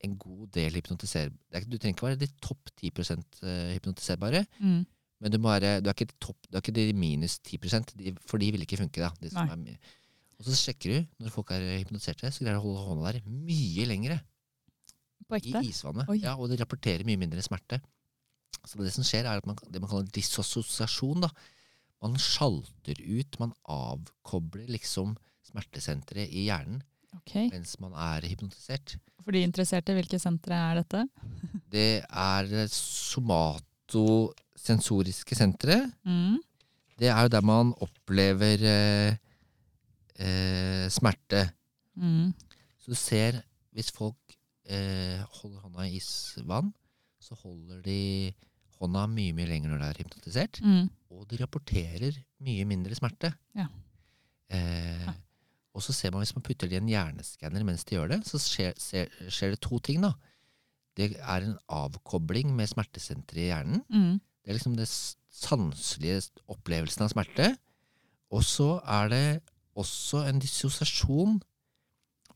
S3: en god del hypnotiser... det er ikke- Du trenger ikke være de topp 10 eh, hypnotiserbare,
S2: Mm.
S3: men du, må være, du, er ikke de topp, du er ikke de minus 10 de, for de vil ikke funke. da. De som
S2: Nei.
S3: er, mi- og så sjekker du, når folk er hypnotiserte, så greier de å holde hånda der mye lengre
S2: På
S3: i
S2: ekte?
S3: isvannet.
S2: Oi.
S3: Ja, og det rapporterer mye mindre smerte. Så det som skjer, er at man, det man kaller disassosiasjon. Da. Man sjalter ut, man avkobler liksom smertesenteret i hjernen
S2: Ok.
S3: mens man er hypnotisert.
S2: For de interesserte, hvilke sentre er dette?
S3: Det er det somatosensoriske senteret.
S2: Mm.
S3: Det er jo der man opplever eh, eh, smerte.
S2: Mm.
S3: Så du ser, hvis folk eh, holder hånda i isvann, så holder de hånda mye mye lenger når de er hypnotisert.
S2: Mm.
S3: Og de rapporterer mye mindre smerte.
S2: Ja.
S3: Eh,
S2: Ja.
S3: og så ser man hvis man putter det i en hjerneskanner mens de gjør det, så skjer, ser, skjer det to ting. da. Det er en avkobling med smertesenteret i hjernen.
S2: Mm.
S3: Det er liksom det s- sanselige s- opplevelsen av smerte. Og så er det også en dissosiasjon.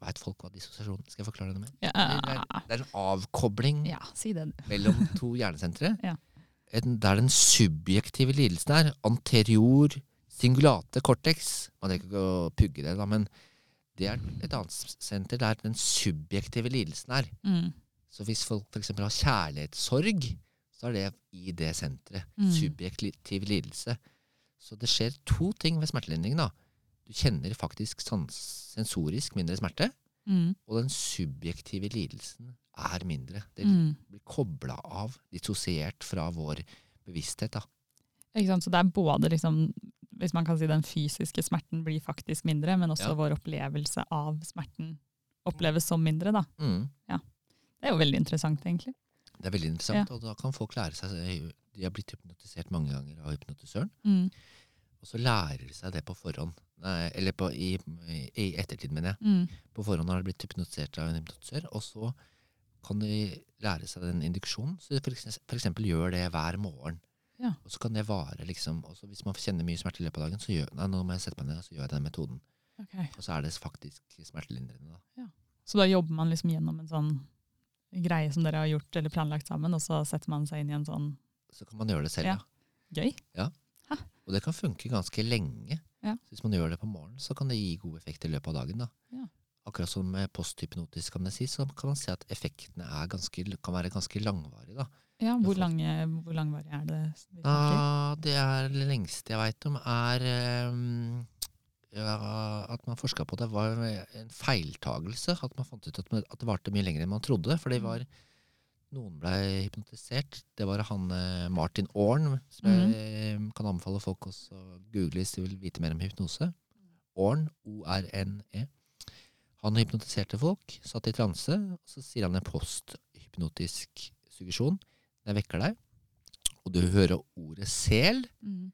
S3: Veit folk hva dissosiasjon Skal jeg forklare det mer? Eller Det
S2: Ja.
S3: er, det er en avkobling
S2: Ah. ja, si det, du.
S3: [laughs] mellom to hjernesentre.
S2: Ja.
S3: En, der den subjektive lidelsen er anterior singulate cortex. Man trenger ikke å pugge det, da, men det er et annet s- senter der den subjektive lidelsen er.
S2: Mm.
S3: Så hvis folk f.eks. har kjærlighetssorg, så er det i det senteret.
S2: Mm.
S3: Subjektiv lidelse. Så det skjer to ting ved smertelindring. da. Du kjenner faktisk sans sensorisk mindre smerte,
S2: Mm.
S3: og den subjektive lidelsen er mindre. Det
S2: Mm.
S3: blir kobla av, dissosiert fra vår bevissthet. da.
S2: Ikke sant? Så det er både liksom, hvis man kan si den fysiske smerten blir faktisk mindre, men også
S3: Ja.
S2: vår opplevelse av smerten oppleves som mindre, da.
S3: Mm.
S2: Det er jo veldig interessant, egentlig.
S3: Det er veldig interessant, og da kan folk lære seg eh, De har blitt hypnotisert mange ganger av hypnotisøren.
S2: Mm.
S3: Og så lærer de seg det på forhånd. Nei, eller på, i, i ettertid, mener jeg.
S2: Mm.
S3: På forhånd har de blitt hypnotisert av en hypnotisør, og så kan de lære seg den induksjonen. Så de for ekse- for eksempel gjør det hver morgen.
S2: Ja.
S3: Og så kan det vare, liksom. Og så hvis man kjenner mye smerte i løpet av dagen, så gjør, nei, nå må jeg sette meg ned, og så gjør jeg den metoden.
S2: Ok.
S3: Og så er det faktisk smertelindrende. Da.
S2: Så da jobber man liksom gjennom en sånn greie som dere har gjort eller planlagt sammen, og så setter man seg inn i en sånn
S3: Så kan man gjøre det selv,
S2: Ja.
S3: ja.
S2: gøy.
S3: Og det kan funke ganske lenge.
S2: Ja.
S3: Så hvis man gjør det på morgenen, så kan det gi god effekt i løpet av dagen. Da.
S2: Ja.
S3: Akkurat som med posthypnotisk amnesi, så kan man se at effektene er ganske, kan være ganske langvarige. Da.
S2: Ja,
S3: Du
S2: hvor, Ah.
S3: får-
S2: lange, hvor langvarig er det? vi
S3: Da,
S2: snakker?
S3: det er det lengste jeg veit om, er ehm, ja, at man forska på det, var en feiltagelse. At man fant ut at, man, at det varte mye lenger enn man trodde. For det var noen ble hypnotisert. Det var han eh, Martin Aarn, som jeg eh, kan anbefale folk også å google hvis de vil vite mer om hypnose. Aarn, O-R-N-E. E. Han hypnotiserte folk, satt i transe, og så sier han en posthypnotisk suggesjon. Jeg vekker deg, og du hører ordet sel,
S2: Mm.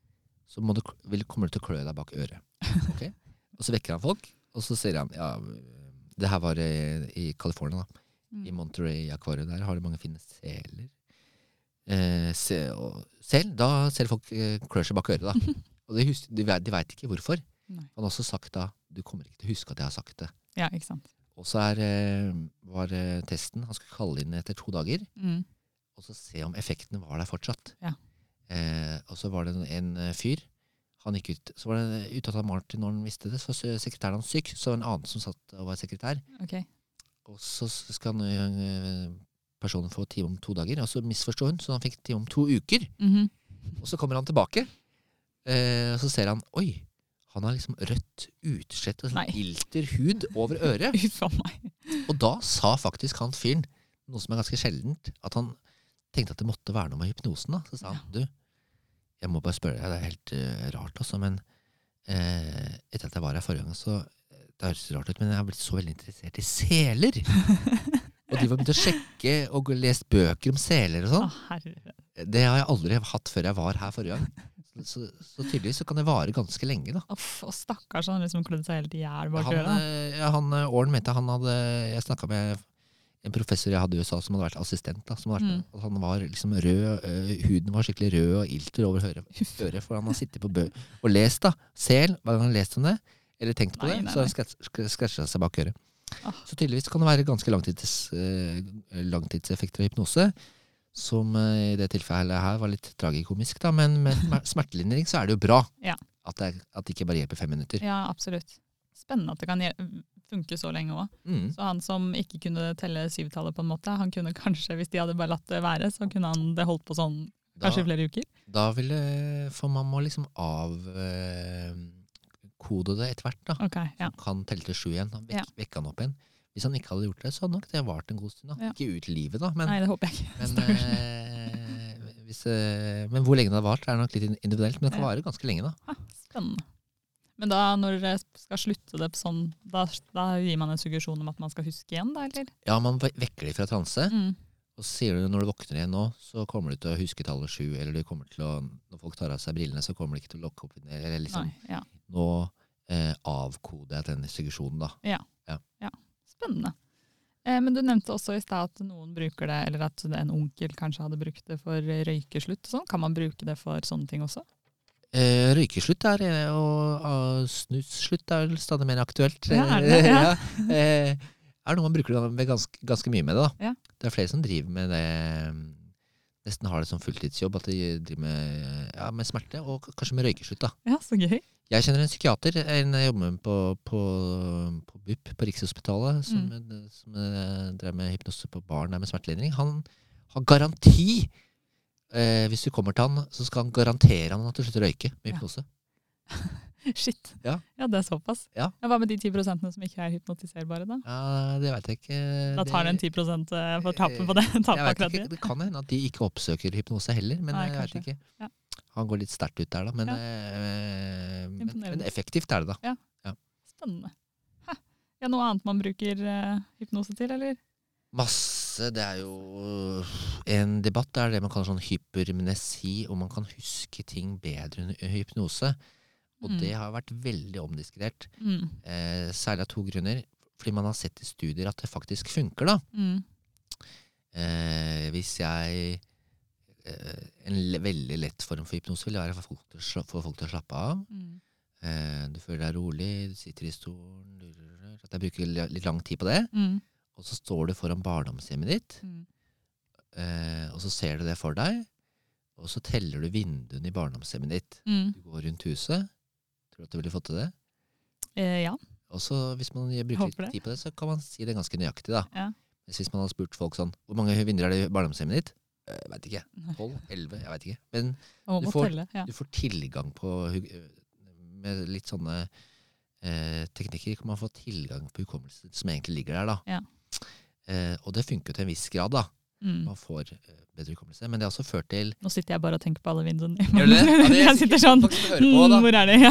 S3: så må du, kl- vil, kommer du til å klø deg bak øret.
S2: [laughs]
S3: Ok? Og så vekker han folk, og så sier han ja, Det her var eh, i California, da. I
S2: Mm.
S3: Monterey-akvariet der har de mange fine seler. Eh, se, og, sel, da ser folk eh, klør seg bak øret,
S2: [laughs]
S3: da. Og de, hus- de, vet- de veit ikke hvorfor.
S2: Nei.
S3: Han har også sagt da Du kommer ikke til å huske at jeg har sagt det.
S2: Ja, ikke sant.
S3: Og så er, eh, var eh, testen Han skulle kalle inn etter to dager
S2: Mm.
S3: og så se om effekten var der fortsatt.
S2: Ja.
S3: Eh, og så var det en, en eh, fyr. Han gikk ut. Så var det ute at han Martin når han visste det, så var sekretæren hans syk. Så var det en annen som satt og var sekretær.
S2: Ok.
S3: Og så skal han, eh, personen få time om to dager, og så misforstår hun, så han fikk time om to uker.
S2: Mhm.
S3: Og så kommer han tilbake, eh, og så ser han Oi! Han har liksom rødt utslett og
S2: Nei.
S3: sånn ilter hud over øret.
S2: Uff a meg.
S3: Og da sa faktisk han fyren, noe som er ganske sjeldent, at han tenkte at det måtte være noe med hypnosen. da. Så sa han du, jeg må bare spørre deg, det er helt eh, rart også, men eh, etter at jeg var her forrige gang, så eh, det høres rart ut, men jeg har blitt så veldig interessert i seler. og de var begynt å sjekke og gå- lest bøker om seler og
S2: Å,
S3: sånn.
S2: herre.
S3: Det har jeg aldri hatt før jeg var her forrige gang. Så så, så tydeligvis så kan det vare ganske lenge, da.
S2: Uff, og stakkars, han liksom klødde seg helt i hjel bak
S3: Han,
S2: øra.
S3: eh, ja, han eh, Orn mente han hadde Jeg snakka med en professor jeg hadde i USA som hadde vært assistent. Da, som hadde vært,
S2: Mm.
S3: og Han var liksom rød, eh, huden var skikkelig rød og ilter over høret, øret, for han har sittet på bø og lest. da, Sel, hva han har lest om det, eller tenkt på
S2: Nei,
S3: det,
S2: nei,
S3: så har han skræsja seg bak øret.
S2: Ah.
S3: Så tydeligvis kan det være ganske langtids, eh, langtidseffekter av hypnose. Som eh, i det tilfellet her var litt tragikomisk, da, men med smer- smertelindring så er det jo bra.
S2: Ja.
S3: At, det, er- at det ikke bare hjelper fem minutter.
S2: Ja, absolutt. Spennende at det kan gjel- funke så lenge òg.
S3: Mm.
S2: Så han som ikke kunne telle syvtallet, på en måte, han kunne kanskje, hvis de hadde bare latt det være, så kunne han det holdt på sånn
S3: Da-
S2: kanskje i flere uker.
S3: Da ville For man må liksom avkode det etter hvert, da.
S2: Ok, ja.
S3: Han kan telle til sju igjen. Han vek,
S2: Ja.
S3: Vekke han opp igjen. Hvis han ikke hadde gjort det, så hadde nok det vart en god stund. da.
S2: Ja.
S3: Ikke ut livet, da, men,
S2: Nei, det håper jeg ikke.
S3: men,
S2: [laughs] Stakkars.
S3: eh, hvis, eh, men hvor lenge det har vart, er nok litt in- individuelt. Men det kan
S2: Ja.
S3: vare ganske lenge, da.
S2: Ah, Spennende. Men da, når dere skal slutte det på sånn, da, da gir man en suggesjon om at man skal huske igjen, da, eller?
S3: Ja, man ve- vekker de fra transe,
S2: Mm.
S3: og så sier du når du våkner igjen nå, så kommer du til å huske tallet sju, eller du kommer til å Når folk tar av seg brillene, så kommer de ikke til å lokke opp Eller liksom
S2: Nei, ja.
S3: Nå eh, avkoder jeg den suggesjonen, da.
S2: Spennende. Eh, men du nevnte også i stad at noen bruker det, eller at en onkel kanskje hadde brukt det for røykeslutt og sånn. Kan man bruke det for sånne ting også? [laughs]
S3: Eh, røykeslutt er, eh, og uh, snusslutt er vel stadig mer aktuelt.
S2: Ja,
S3: [laughs]
S2: er det det? Ja.
S3: Ja. Eh, er noe man bruker det med ganske, ganske mye med det. da.
S2: Ja.
S3: Det er flere som driver med det mm, Nesten har det som fulltidsjobb at de driver med, ja, med smerte, og k- kanskje med røykeslutt. da.
S2: Ja, så gøy.
S3: Jeg kjenner en psykiater, en jeg jobber med på, på, på BUP på Rikshospitalet, som,
S2: Mm.
S3: som eh, drev med hypnose på barn der med smertelindring. Han har garanti! Eh, hvis du kommer til han, så skal han garantere han at du slutter å røyke med
S2: Ja.
S3: hypnose.
S2: Shit.
S3: Ja.
S2: det er såpass.
S3: Ja.
S2: Hva med de 10 som ikke er hypnotiserbare, da?
S3: Ja, det veit jeg ikke.
S2: Da tar den 10 for tapet på det. [laughs]
S3: Jeg
S2: Tapet
S3: vet
S2: akkurat
S3: ikke.
S2: det.
S3: Det kan hende at de ikke oppsøker hypnose heller, men
S2: Nei,
S3: jeg
S2: kanskje.
S3: vet ikke.
S2: Ja.
S3: Han går litt sterkt ut der, da. Men,
S2: Ja.
S3: eh, men,
S2: Imponerende.
S3: men effektivt er det, da.
S2: Spennende. Hæ. Ja, noe annet man bruker eh, hypnose til, eller?
S3: Masse Det er jo en debatt. Det er det man kaller sånn hypermnesi, om man kan huske ting bedre under hypnose. Og
S2: Mm.
S3: det har vært veldig omdiskutert.
S2: Mm.
S3: Eh, særlig av to grunner. Fordi man har sett i studier at det faktisk funker, da.
S2: Mm.
S3: Eh, hvis jeg eh, En le- veldig lett form for hypnose vil være å få folk til å sla- få folk til å slappe av.
S2: Mm.
S3: Eh, du føler deg rolig, du sitter i stolen du- du- du- At jeg bruker li- litt lang tid på det.
S2: Mm.
S3: Og så står du foran barndomshjemmet ditt,
S2: Mm.
S3: eh, og så ser du det for deg. Og så teller du vinduene i barndomshjemmet ditt.
S2: Mm.
S3: Du går rundt huset. Tror du at du ville fått til det?
S2: Eh, ja.
S3: Og så Hvis man bruker
S2: Håper
S3: litt
S2: det.
S3: tid på det, så kan man si det ganske nøyaktig. da.
S2: Ja.
S3: Mens Hvis man hadde spurt folk sånn Hvor mange vinduer er det i barndomshjemmet ditt? Eh, Jeg veit ikke.
S2: Nei.
S3: Tolv? Elleve? Jeg veit ikke. Men
S2: Og
S3: Du
S2: må
S3: får-
S2: telle. Ja.
S3: du får tilgang på hu- Med litt sånne eh, teknikker kan man få tilgang på hukommelsen som egentlig ligger der. da.
S2: Ja.
S3: Eh, og det funker jo til en viss grad. da.
S2: Mm.
S3: Man får eh, bedre hukommelse. Men det har også ført
S2: [laughs]
S3: til
S2: Nå sitter jeg bare og tenker på alle vinduene.
S3: Gjør
S2: [laughs]
S3: du det? Ja, det er
S2: jeg sitter
S3: sikkert
S2: sånn
S3: folk som hører på, da.
S2: mm, Hvor er det? Ja.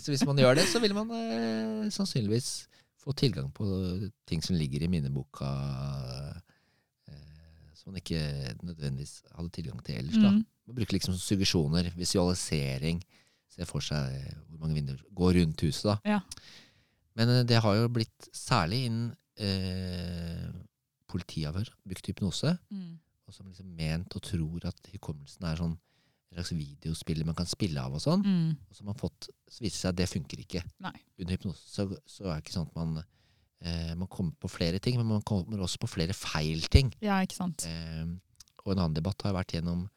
S3: Så hvis man gjør det, så vil man eh, sannsynligvis få tilgang på ting som ligger i minneboka eh, som man ikke nødvendigvis hadde tilgang til ellers. da.
S2: Mm.
S3: Man bruker liksom suggesjoner, visualisering. Se for seg hvor mange vinduer Gå rundt huset, da.
S2: Ja.
S3: Men eh, det har jo blitt, særlig innen eh, politiavhør, brukt hypnose.
S2: Mm.
S3: Og som liksom ment og tror at hukommelsen er sånn en slags videospiller man kan spille av og sånn.
S2: Mm.
S3: Og så har man fått, så viser det seg at det funker ikke.
S2: Nei.
S3: Under hypnose så, så er det ikke sånn at man eh, Man kommer på flere ting, men man kommer også på flere feil ting.
S2: Ja, ikke sant.
S3: Eh, og en annen debatt har vært gjennom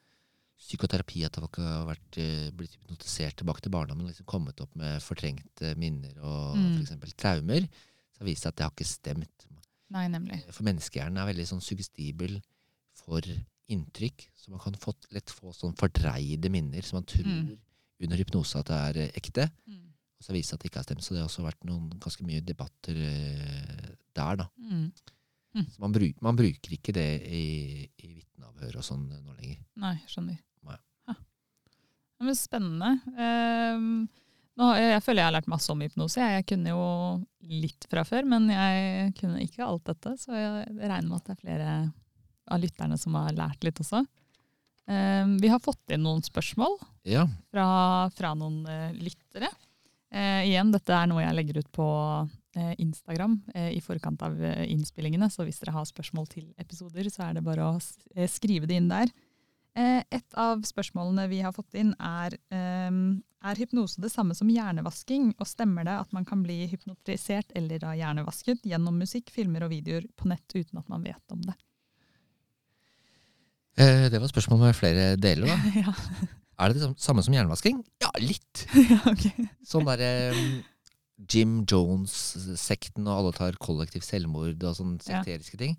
S3: psykoterapi, at folk har vært, eh, blitt hypnotisert tilbake til barndommen og liksom kommet opp med fortrengte minner og
S2: Mm.
S3: for f.eks. traumer. Så har det vist seg at det har ikke stemt. Eh,
S2: Nei, nemlig.
S3: For menneskehjernen er veldig sånn suggestibel for inntrykk, så man kan få, lett få sånn fordreide minner som man tror
S2: Mm.
S3: under hypnose at det er eh, ekte.
S2: Mm.
S3: Og så har det vist seg at det ikke har stemt. Så det har også vært noen ganske mye debatter eh, der, da.
S2: Mm.
S3: Så man, bru- man bruker ikke det i, i vitneavhør og sånn nå lenger.
S2: Nei, skjønner.
S3: Nei.
S2: Ja. Ja, Men spennende. Ehm, nå, har jeg jeg føler jeg har lært masse om hypnose. Jeg, jeg kunne jo litt fra før, men jeg kunne ikke alt dette. Så jeg regner med at det er flere av lytterne som har lært litt også. Eh, Eh, Vi har fått inn noen spørsmål
S3: Ja,
S2: fra, fra noen eh, lyttere. Eh, igjen, dette er noe jeg legger ut på eh, Instagram eh, i forkant av eh, innspillingene, så hvis dere har spørsmål til episoder, så er det bare å s- eh, skrive det inn der. Eh, et av spørsmålene vi har fått inn er eh, er hypnose det samme som hjernevasking, og stemmer det at man kan bli hypnotisert eller da hjernevasket gjennom musikk, filmer og videoer på nett uten at man vet om det? [laughs]
S3: eh, det var et spørsmål med flere deler. da.
S2: ja,
S3: Er det det sam- samme som hjernevasking? Ja, litt.
S2: ok.
S3: Sånn derre Jim Jones-sekten, og alle tar kollektiv selvmord og sånne
S2: Ja.
S3: sekteriske ting,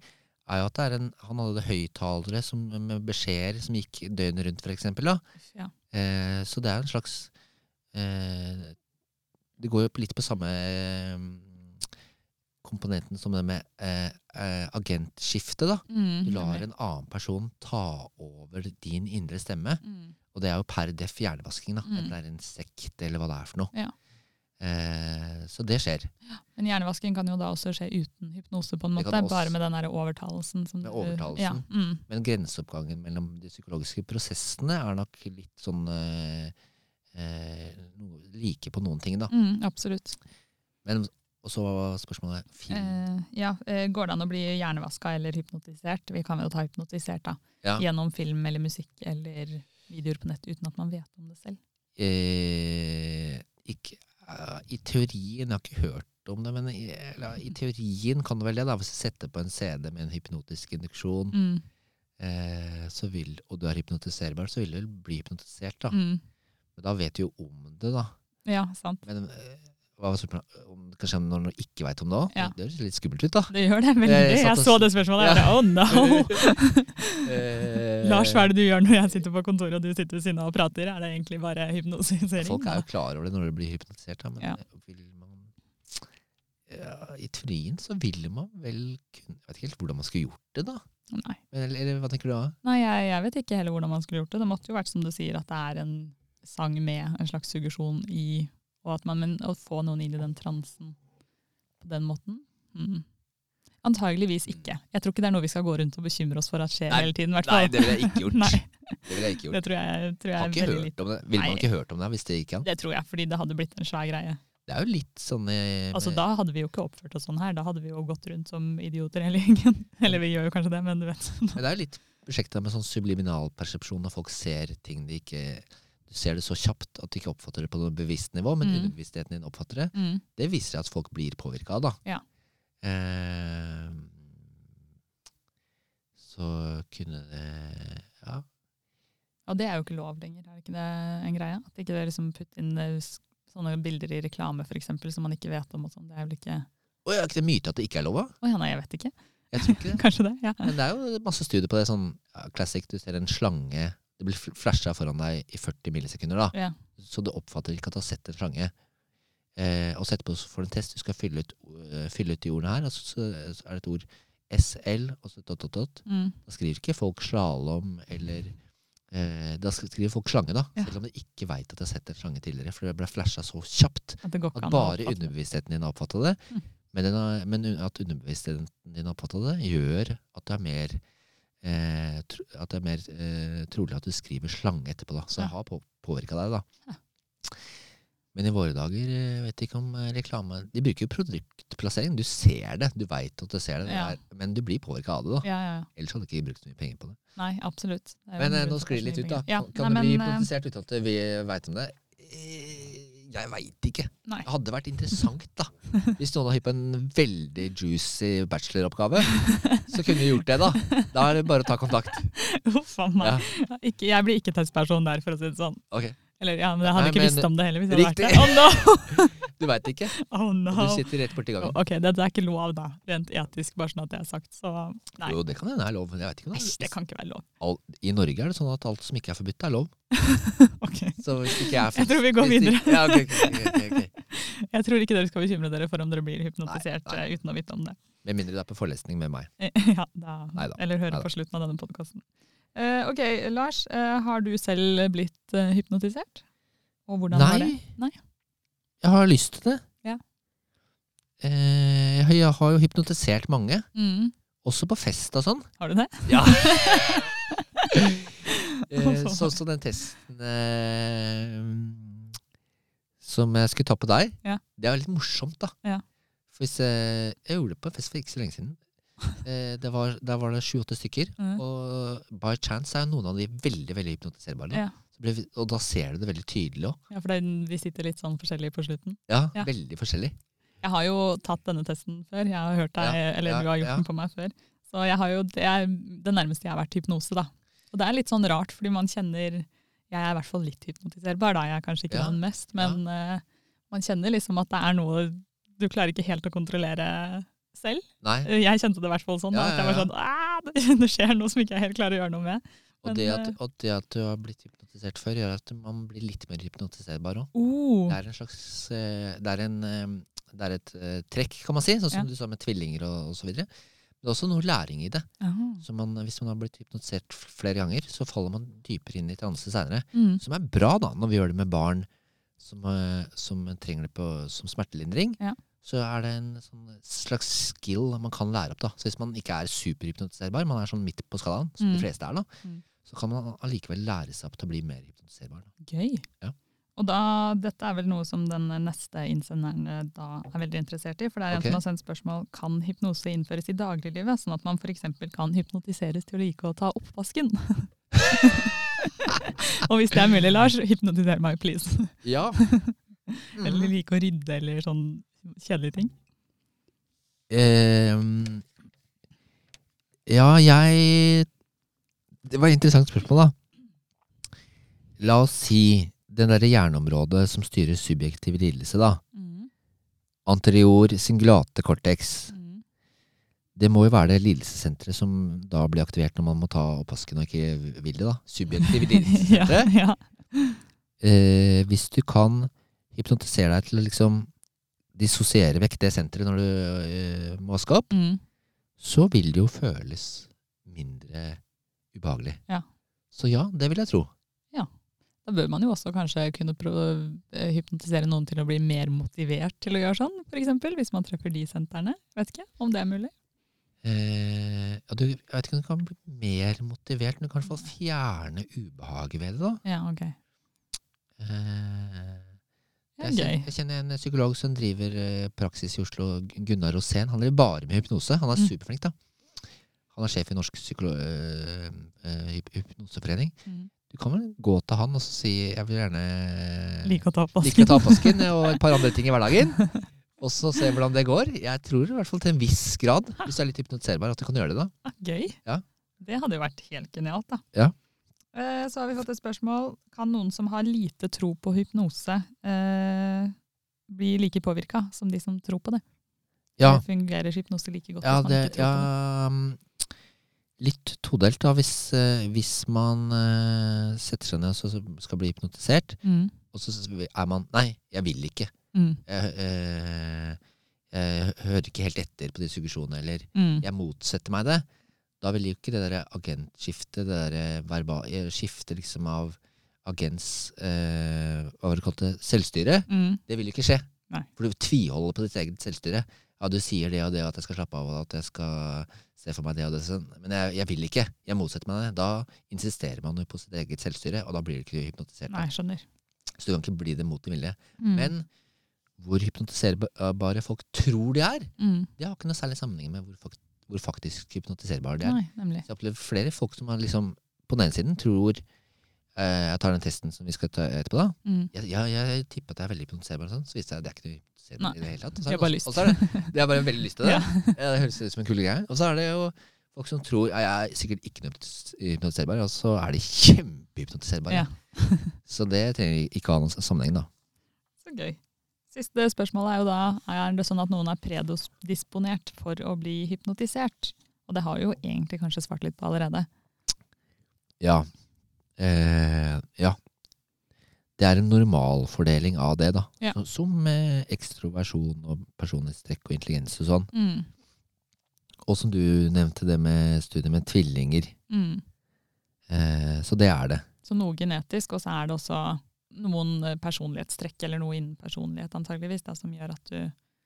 S3: er jo at det er en, han hadde høyttalere som- med beskjeder som gikk døgnet rundt, for eksempel. Da.
S2: Ja.
S3: Eh, så det er en slags eh, Det går jo på- litt på samme eh, komponenten som det med eh, eh, agentskifte, da.
S2: Mm,
S3: Du lar
S2: nemlig.
S3: en annen person ta over din indre stemme.
S2: Mm,
S3: Og det er jo per def hjernevasking, da.
S2: Mm.
S3: Enten det er en sekt eller hva det er for noe.
S2: Ja.
S3: Eh, så det skjer.
S2: Men hjernevasking kan jo da også skje uten hypnose, på en
S3: Det
S2: måte,
S3: kan også-
S2: bare med den der overtalelsen. Som
S3: Med
S2: du-
S3: overtalelsen.
S2: Ja, mm,
S3: Men grenseoppgangen mellom de psykologiske prosessene er nok litt sånn eh, eh, no- like på noen ting, da.
S2: mm, absolutt.
S3: Men og så var spørsmålet film.
S2: Eh, ja, eh, går det an å bli hjernevaska eller hypnotisert? Vi kan jo ta hypnotisert da,
S3: Ja.
S2: gjennom film eller musikk eller videoer på nett uten at man vet om det selv.
S3: Eh, ikke, eh, I teorien, jeg har ikke hørt om det, men i, eller, i teorien kan det vel det, da. Hvis du setter på en CD med en hypnotisk induksjon,
S2: Mm,
S3: eh, så vil, og du er hypnotiserbar, så vil du vel bli hypnotisert. da.
S2: mm,
S3: Men da vet du jo om det, da.
S2: ja, sant.
S3: Men eh, hva var spørsmålet? Om, kanskje om noen ikke veit om det òg?
S2: Ja.
S3: Det høres litt skummelt ut, da.
S2: Det gjør det veldig.
S3: Jeg
S2: Jeg
S3: satt
S2: så
S3: og-
S2: det spørsmålet. Jeg bare, oh no!
S3: [laughs] Eh,
S2: [laughs] Lars, hva er det du gjør når jeg sitter på kontoret og du sitter ved siden av og prater? Er det egentlig bare hypnotisering?
S3: Eh, Folk er jo klar over det når de blir hypnotisert, da, men eh,
S2: Ja.
S3: vil man ja, I teorien så vil man vel kunne Jeg vet ikke helt hvordan man skulle gjort det, da.
S2: Nei.
S3: Men, eller, eller hva tenker du da?
S2: Nei, jeg, jeg vet ikke heller hvordan man skulle gjort det. Det måtte jo vært som du sier, at det er en sang med en slags suggesjon i, og at man men, å få noen inn i den transen på den måten. Mm. Antageligvis ikke. Jeg tror ikke det er noe vi skal gå rundt og bekymre oss for at skjer
S3: Nei,
S2: hele tiden. hvertfall.
S3: nei, det ville jeg
S2: [laughs]
S3: ikke gjort.
S2: Nei,
S3: Det ville jeg ikke
S2: det tror jeg, tror jeg
S3: Har
S2: er
S3: ikke
S2: veldig
S3: hørt
S2: lite.
S3: om det. Ville
S2: Nei.
S3: man ikke hørt om det hvis det gikk an?
S2: Det tror jeg, fordi det hadde blitt en svær greie.
S3: Det er jo litt sånn eh,
S2: Altså,
S3: med-
S2: Da hadde vi jo ikke oppført oss sånn her. Da hadde vi jo gått rundt som idioter hele gjengen. [laughs] Eller vi gjør jo kanskje det, men du vet.
S3: Men det er jo litt prosjektet med sånn subliminalpersepsjon, når folk ser ting de ikke Du ser det så kjapt at du ikke oppfatter det på noe bevisst nivå, men
S2: Mm.
S3: underbevisstheten din oppfatter det.
S2: Mm.
S3: Det viser at folk blir påvirka av, da.
S2: Ja.
S3: Eh, så kunne det Ja.
S2: Og det er jo ikke lov lenger, er det ikke det en greie? At ikke det liksom putt inn eh, s- sånne bilder i reklame for eksempel, som man ikke vet om og sånn. Det er vel ikke...
S3: Å, er ikke det myte at det ikke er lov, da?
S2: Å ja, nei, jeg vet ikke. [laughs]
S3: Jeg tror ikke det.
S2: Kanskje det, ja.
S3: Men det er jo masse studier på det. Sånn ja, classic, du ser en slange Det blir flasha foran deg i 40 millisekunder, da.
S2: Ja,
S3: så du oppfatter ikke at du har sett en slange. Eh, og så etterpå så får du en test. Du skal fylle ut, eh, fylle ut de ordene her. Og så, så er det et ord SL, og så dot, dot, dot.
S2: mm.
S3: Da skriver ikke folk slalåm eller eh, Da sk- skriver folk slange, da.
S2: Ja.
S3: Selv om de ikke veit at de har sett en slange tidligere. For det ble flasha så kjapt
S2: at det går ikke
S3: at
S2: an. å
S3: bare
S2: oppfatte.
S3: underbevisstheten din har oppfatta det.
S2: Mm.
S3: Men, den har, men un- at underbevisstheten din har oppfatta det, gjør at det er mer eh, tro, at det er mer eh, trolig at du skriver slange etterpå. da. Så
S2: Ja.
S3: det har på, påvirka deg, da.
S2: Ja.
S3: Men i våre dager eh, vet ikke om eh, reklame De bruker jo produktplassering. Du ser det, du veit at du ser det, det
S2: Ja.
S3: er, men du blir påvirka av det. da.
S2: Ja, ja, ja.
S3: Ellers hadde du ikke brukt så mye penger på det.
S2: Nei, absolutt. Det er jo
S3: Men eh,
S2: en grunn
S3: nå
S2: til
S3: sklir det
S2: at
S3: litt
S2: det
S3: ut, da.
S2: er så mye penger. Ja,
S3: kan
S2: nei,
S3: det bli
S2: men, eh,
S3: hypnotisert uten at vi veit om det? Eh, Jeg veit ikke.
S2: [laughs] Nei.
S3: Det hadde vært interessant, da. Hvis noen har hypp på en veldig juicy bacheloroppgave, så kunne vi gjort det, da. Da er det bare å ta kontakt.
S2: Uff, faen meg. Ikke, jeg blir ikke testperson der, for å si det sånn.
S3: Ok,
S2: Eller, ja, men jeg hadde
S3: Nei,
S2: ikke
S3: men-
S2: visst om det heller hvis jeg hadde
S3: Riktig. [laughs]
S2: vært der.
S3: Du veit ikke.
S2: Oh no!
S3: Og
S2: Oh
S3: du
S2: no!
S3: sitter rett borti gangen.
S2: Ok, dette er ikke lov da, rent etisk, bare sånn at det er sagt. Så nei,
S3: Jo, det kan hende er lov. men Jeg vet ikke om det
S2: Æsj, det
S3: er.
S2: kan ikke være lov. [laughs]
S3: All, I Norge er det sånn at alt som ikke er forbudt, er lov.
S2: Ok.
S3: Så hvis ikke jeg er
S2: Jeg tror vi går
S3: hvis ikke- Ja, ok, ok, ok, ok, ok.
S2: Jeg tror ikke dere skal bekymre dere for om dere blir hypnotisert
S3: Nei, nei.
S2: eh, uten å vite om det. [laughs]
S3: Med mindre det er på forelesning med meg.
S2: ja, da,
S3: Neida,
S2: Eller høre
S3: neida.
S2: på slutten av denne podkasten. ok, Lars. eh, har du selv blitt eh, hypnotisert? Og hvordan var det? Nei.
S3: Jeg har lyst til det.
S2: Ja.
S3: Eh, jeg har- jeg har jo hypnotisert mange.
S2: Mm.
S3: Også på fest og sånn.
S2: Har du det?
S3: Ja.
S2: [laughs]
S3: Eh, Sånn som den testen eh, som jeg skulle ta på deg.
S2: Ja.
S3: Det er jo litt morsomt, da.
S2: Ja.
S3: For hvis, eh, jeg gjorde det på en fest for ikke så lenge
S2: [laughs]
S3: siden. Eh, det var, der var det sju-åtte stykker.
S2: Mm.
S3: Og by chance er jo noen av de veldig veldig hypnotiserbare.
S2: Ja.
S3: Så ble vi- Og da ser du det veldig tydelig òg.
S2: Ja, for det, er- vi sitter litt sånn forskjellig på slutten.
S3: Ja,
S2: Ja.
S3: Veldig forskjellig.
S2: Jeg har jo tatt denne testen før. Jeg har hørt deg,
S3: Ja,
S2: eller
S3: ja,
S2: du har gjort
S3: ja.
S2: den på meg før. Så jeg har jo, det er det nærmeste jeg har vært til hypnose, da. Og det er litt sånn rart, fordi man kjenner Jeg er i hvert fall litt hypnotiserbar, da. Jeg er kanskje ikke
S3: Ja,
S2: den mest, men eh, man kjenner liksom at det er noe du klarer ikke helt å kontrollere selv.
S3: Nei,
S2: Jeg kjente det i hvert fall sånn. da,
S3: Ja,
S2: at jeg
S3: ja,
S2: var sånn, «Ah, det, [laughs] det skjer noe som ikke jeg helt klarer å gjøre noe med.
S3: Og
S2: Men,
S3: det at,
S2: eh,
S3: og det at du har blitt hypnotisert før, gjør at man blir litt mer hypnotiserbar òg.
S2: Oh,
S3: Det er en slags eh, Det er, en, eh, det er et eh, trekk, kan man si, sånn som
S2: Ja.
S3: du sa med tvillinger og, og så videre. Men det er også noe læring i det.
S2: ah,
S3: Så man, hvis man har blitt hypnotisert f- flere ganger, så faller man dypere inn i transe seinere.
S2: mm,
S3: Som er bra, da, når vi gjør det med barn som, eh, som trenger det på, som smertelindring.
S2: Ja.
S3: Så er det en sånn slags skill man kan lære opp. da. Så Hvis man ikke er superhypnotiserbar, man er sånn midt på skalaen, som
S2: Mm.
S3: de fleste er, da,
S2: Mm.
S3: så kan man allikevel lære seg opp til å bli mer hypnotiserbar. Da.
S2: gøy.
S3: Ja.
S2: Og da, dette er vel noe som den neste innsenderen eh, da er veldig interessert i. For det er en
S3: Ok.
S2: som har sendt spørsmål kan hypnose innføres i dagliglivet, sånn at man f.eks. kan hypnotiseres til å like å
S3: [laughs]
S2: ta oppvasken. Og hvis det er mulig, Lars, hypnotiser meg, please. [laughs]
S3: Ja. Mm.
S2: Eller like å rydde eller sånn kjedelige ting.
S3: Eh, ja, jeg Det var et interessant spørsmål, da. La oss si den derre hjerneområdet som styrer subjektiv lidelse, da. Anterior singulate cortex. Det må jo være det lidelsessenteret som da blir aktivert når man må ta oppvasken og ikke vil det, da. Subjektiv
S2: [laughs] ja,
S3: lidelsessenter.
S2: ja.
S3: eh, hvis du kan hypnotisere deg til å liksom dissosiere vekk det senteret når du eh, må vaske opp,
S2: Mm.
S3: så vil det jo føles mindre ubehagelig.
S2: Ja.
S3: Så ja, det vil jeg tro.
S2: Da bør man jo også kanskje kunne prø- eh, hypnotisere noen til å bli mer motivert til å gjøre sånn, f.eks. Hvis man treffer de sentrene. Vet ikke om det er mulig.
S3: Eh, ja, du, jeg vet ikke om du kan bli mer motivert, men du kan i hvert fall fjerne ubehaget ved det. da.
S2: Ja, ok.
S3: Eh, jeg,
S2: Det er
S3: kjenner,
S2: gøy.
S3: jeg kjenner en psykolog som driver eh, praksis i Oslo, Gun- Gunnar Rosén. Han driver bare med hypnose. Han er
S2: Mm.
S3: superflink, da. Han er sjef i Norsk psykolo eh, eh, hyp- hypnoseforening.
S2: Mm.
S3: Du kan vel gå til han og så si jeg vil gjerne eh,
S2: Like å ta på
S3: Liker å
S2: [laughs]
S3: ta oppvasken og et par andre ting i hverdagen. Og så se hvordan det går. Jeg tror i hvert fall til en viss grad, hvis du er litt hypnotiserbar, at du kan gjøre det. da.
S2: Gøy.
S3: Ja.
S2: Det hadde jo vært helt genialt, da.
S3: Ja.
S2: Eh, Så har vi fått et spørsmål. Kan noen som har lite tro på hypnose, eh, bli like påvirka som de som tror på det?
S3: Ja,
S2: Det Fungerer hypnose like godt
S3: ja,
S2: hvis man
S3: det,
S2: ikke tror
S3: ja
S2: på det?
S3: mm, Litt todelt, da. Hvis, eh, hvis man eh, setter seg ned og så- så skal bli hypnotisert,
S2: Mm.
S3: og så er man Nei, jeg vil ikke.
S2: Mm.
S3: Jeg, eh, jeg hører ikke helt etter på de suggesjonene, eller
S2: Mm.
S3: jeg motsetter meg det, da vil jo ikke det der agentskiftet, det der verbal, skiftet liksom av agents eh, hva var det kalt det, selvstyre,
S2: Mm.
S3: det vil jo ikke skje.
S2: Nei.
S3: For du tviholder på ditt eget selvstyre. Ja, du sier det og det, og at jeg skal slappe av, og at jeg skal se for meg det og det, sånn. men jeg, jeg vil ikke. Jeg motsetter meg det. Da insisterer man jo på sitt eget selvstyre, og da blir du ikke hypnotisert.
S2: Nei, skjønner.
S3: Så du kan ikke bli det mot din vilje.
S2: Mm.
S3: Men hvor hypnotiserbare folk tror de er,
S2: mm.
S3: det har ikke noe særlig sammenheng med hvor, fak hvor faktisk hypnotiserbar de er.
S2: Nei, nemlig.
S3: Så jeg opplever flere folk som har liksom, på den ene siden tror eh, Jeg tar den testen som vi skal ta etterpå, da.
S2: Mm.
S3: Jeg, jeg, jeg tipper at jeg er veldig hypnotiserbar, og sånn, så viste jeg at det er ikke noe hypnotiserbar i det
S2: Nei.
S3: hele tatt.
S2: Jeg har bare lyst.
S3: Og så er det, det er bare veldig lyst til
S2: [laughs]
S3: det. Ja, det høres ut som en kul greie. Og så er det jo folk som tror ja, Jeg er sikkert ikke noe hypnotiserbar, og så er de kjempehypnotiserbare.
S2: Ja.
S3: [laughs] så det trenger ikke å ha noen sammenheng, da.
S2: Så gøy. Siste spørsmålet er jo da, er det sånn at noen er predisponert for å bli hypnotisert? Og det har vi jo egentlig kanskje svart litt på allerede.
S3: Ja. Eh, ja. Det er en normalfordeling av det, da.
S2: Ja.
S3: Så- Som eh, ekstroversjon og personlighetstrekk og intelligens og sånn.
S2: Mm.
S3: Og som du nevnte, det med studiet med tvillinger.
S2: Mm.
S3: Eh, så det er det.
S2: Så noe genetisk, og så er det også noen eh, personlighetstrekk eller noe innen personlighet antageligvis, da, som gjør at du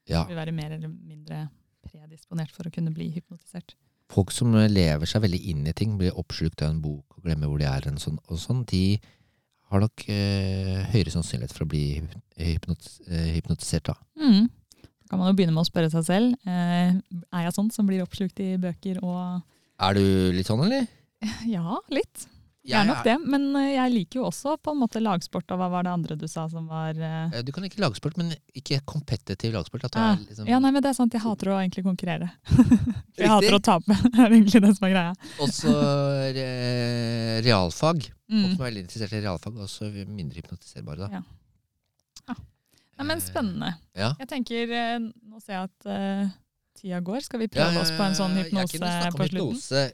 S3: Ja.
S2: vil være mer eller mindre predisponert for å kunne bli hypnotisert.
S3: folk som lever seg veldig inn i ting, blir oppslukt av en bok og glemmer hvor de er, og sånn, og sånn de har nok eh, høyere sannsynlighet for å bli hypnotis eh, hypnotisert. da.
S2: Mm. Da kan man jo begynne med å spørre seg selv. Eh, er jeg sånn som blir oppslukt i bøker og [clears throat]
S3: Er du litt sånn, eller?
S2: Ja, litt. Jeg
S3: Jeg
S2: er nok det. Men eh, jeg liker jo også på en måte lagsport, og hva var det andre du sa som var eh,
S3: Eh, Du kan ikke lagsport, men ikke kompetitiv lagsport. At du
S2: Ah,
S3: er liksom,
S2: Ja, nei, men det er sant. Jeg hater å egentlig konkurrere. [laughs] For jeg
S3: Riktig.
S2: hater å tape. [laughs] Det er egentlig det som er greia.
S3: Også eh, realfag. Folk
S2: Mm.
S3: som er veldig interessert i realfag, er også mindre hypnotiserbare.
S2: Ja.
S3: Da.
S2: Ja. Nei, men
S3: Eh,
S2: spennende.
S3: Ja.
S2: Jeg tenker, eh, Nå ser jeg at eh, tida går. Skal vi prøve oss på en sånn hypnose
S3: Jeg kunne snakke
S2: på
S3: om
S2: slutten?
S3: hypnose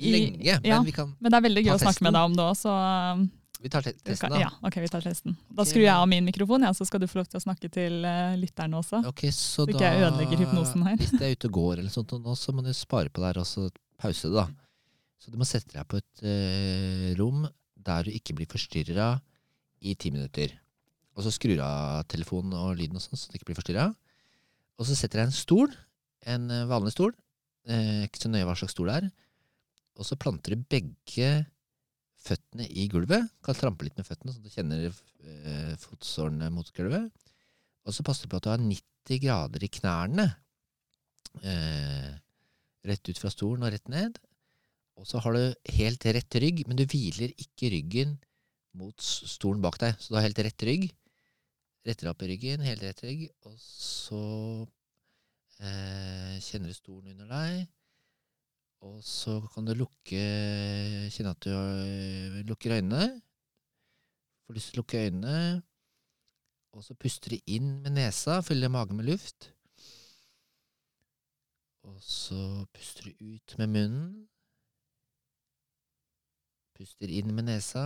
S2: I-
S3: lenge, men
S2: ja.
S3: vi, kan,
S2: Men det er veldig gøy
S3: Ta
S2: å snakke
S3: testen.
S2: med deg om det òg, så um,
S3: vi tar te-
S2: du
S3: testen,
S2: kan,
S3: da.
S2: ja, ok, vi tar testen. Da
S3: Ok.
S2: skrur jeg av min mikrofon, ja, så skal du få lov til å snakke til eh, lytterne også.
S3: Ok, så
S2: Så ikke
S3: da
S2: jeg ødelegger hypnosen her.
S3: Hvis det er ute og går, eller sånt, og nå, så må du spare på det her og så pause det. da. Så du må sette deg på et eh, rom der du ikke blir forstyrra i ti minutter. Og så skrur du av telefonen og lyden, og sånn, så du ikke blir forstyrra. Og så setter du deg i en stol, en eh, vanlig stol, eh, ikke så nøye hva slags stol det er. Og så planter du begge føttene i gulvet. Kan trampe litt med føttene, så du kjenner eh, fotsålene mot gulvet. Og så passer du på at du har 90 grader i knærne. Eh, rett ut fra stolen og rett ned. Og så har du helt rett rygg, men du hviler ikke ryggen mot s- stolen bak deg. Så du har helt rett rygg. Retter opp i ryggen, helt rett rygg. Og så eh, kjenner du stolen under deg. Og så kan du lukke Kjenne at du øh, lukker øynene. Får lyst til å lukke øynene. Og så puster du inn med nesa, fyller magen med luft. Og så puster du ut med munnen. Puster inn med nesa.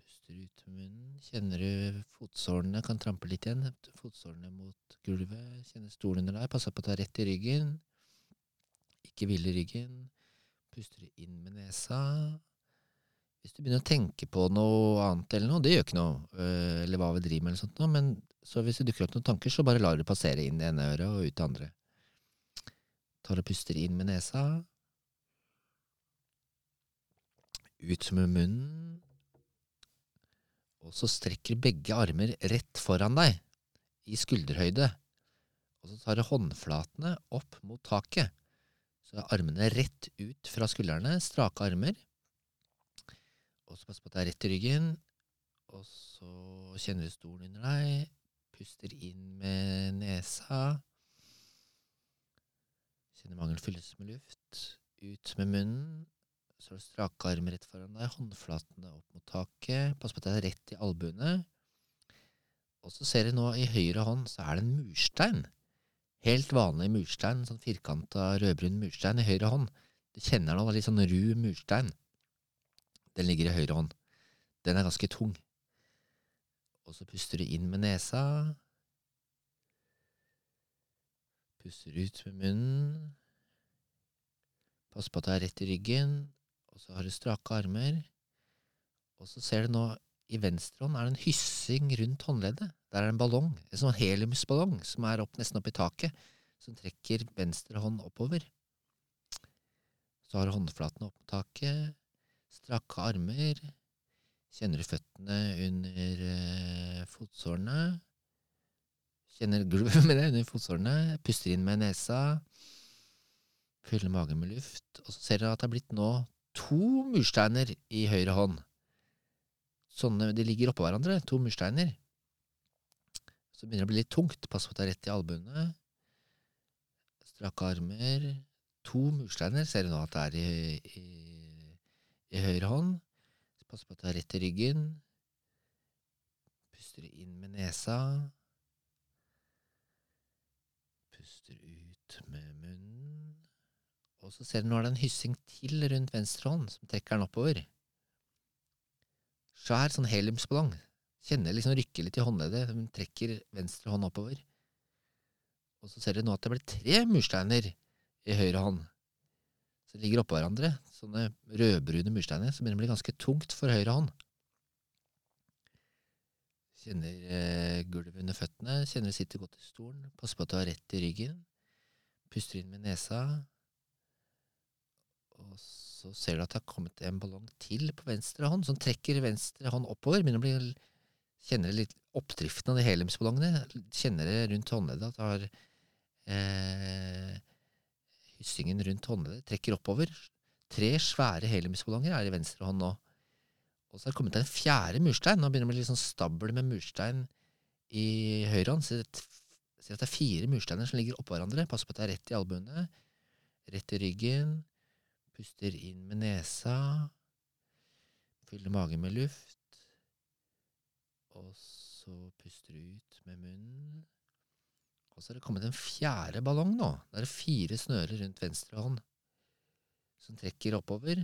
S3: Puster ut med munnen. Kjenner du fotsålene, kan trampe litt igjen. Fotsålene mot gulvet. Kjenner stolen under deg. Passer på å ta rett i ryggen. Ikke hvile ryggen. Puster du inn med nesa. Hvis du begynner å tenke på noe annet eller noe, det gjør ikke noe, øh, eller hva vi driver med eller sånt noe, men så hvis det dukker opp noen tanker, så bare lar du det passere inn det ene øret og ut det andre. Tar og puster inn med nesa. Ut med munnen. Og så strekker du begge armer rett foran deg, i skulderhøyde. Og så tar du håndflatene opp mot taket. Så er armene rett ut fra skuldrene, strake armer. Og så pass på at det er rett i ryggen. Og så kjenner du stolen under deg. Puster inn med nesa. Kjenner mangel fylles med luft. Ut med munnen. Så har du strake armer rett foran deg, håndflatene opp mot taket. Pass på at det er rett i albuene. Og så ser du nå i høyre hånd så er det en murstein. Helt vanlig murstein, sånn firkanta rødbrun murstein i høyre hånd. Du kjenner den, det er litt sånn ru murstein. Den ligger i høyre hånd. Den er ganske tung. Og så puster du inn med nesa. Puster ut med munnen. Pass på at det er rett i ryggen. Og så har du strake armer. Og så ser du nå i venstre hånd er det en hyssing rundt håndleddet. Der er det en ballong, en sånn heliumsballong, som er opp, nesten opp i taket, som trekker venstre hånd oppover. Så har du håndflatene opp på taket. Strakke armer. Kjenner du føttene under eh, fotsålene. Kjenner gulvet [laughs] med det under fotsålene. Puster inn med nesa. Fyller magen med luft. Og så ser dere at det er blitt nå to mursteiner i høyre hånd. Sånne, De ligger oppå hverandre, to mursteiner. Så begynner det å bli litt tungt. Pass på at det er rett i albuene. Strakke armer. To mursteiner ser du nå at det er i, i i høyre hånd. Så passer på at du har rett i ryggen. Puster du inn med nesa. Puster ut med munnen. Og så ser du nå er det en hyssing til rundt venstre hånd, som trekker den oppover. Svær sånn heliumsballong. Kjenner liksom rykker litt i håndleddet. Hun trekker venstre hånd oppover. Og så ser du nå at det blir tre mursteiner i høyre hånd som ligger oppå hverandre, sånne rødbrune mursteiner, som begynner å bli ganske tungt for høyre hånd. Kjenner eh, gulvet under føttene, kjenner du sitter godt i stolen, passer på at du har rett i ryggen. Puster inn med nesa. Og så ser du at det har kommet en ballong til på venstre hånd, som trekker venstre hånd oppover. Begynner å bli Kjenner litt oppdriften av de heliumsballongene. Kjenner det rundt håndleddet at du har eh, hyssingen rundt håndleddet. Trekker oppover. Tre svære heliumsballonger er i venstre hånd nå. Og så har det kommet en fjerde murstein. Nå begynner det å bli litt sånn stabel med murstein i høyre hånd. Ser, et- ser at det er fire mursteiner som ligger oppå hverandre. Passer på at det er rett i albuene, rett i ryggen. Puster inn med nesa. Fyller magen med luft. Og så puster du ut med munnen. Og så er det kommet en fjerde ballong nå. Da er det fire snører rundt venstre hånd som trekker oppover.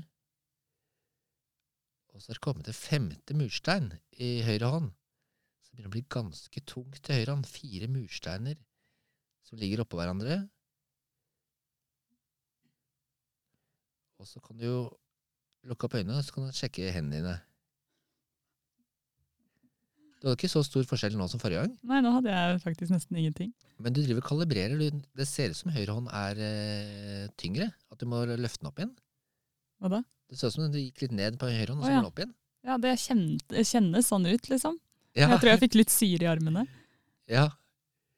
S3: Og så er det kommet en femte murstein i høyre hånd. Så det begynner å bli ganske tungt til høyre hånd. Fire mursteiner som ligger oppå hverandre. Og så kan du jo lukke opp øynene og så kan du sjekke hendene dine. Du hadde ikke så stor forskjell nå som forrige gang,
S2: Nei, nå hadde jeg faktisk nesten ingenting.
S3: men du driver og kalibrerer. Du, det ser ut som høyre hånd er eh, tyngre, at du må løfte den opp igjen.
S2: Hva da?
S3: Det så ut som du gikk litt ned på høyre hånd, og
S2: Å,
S3: så
S2: ja.
S3: må du opp igjen.
S2: Ja, det kjent, det kjennes sånn ut, liksom.
S3: Ja,
S2: Jeg tror jeg fikk litt syre i armene.
S3: ja.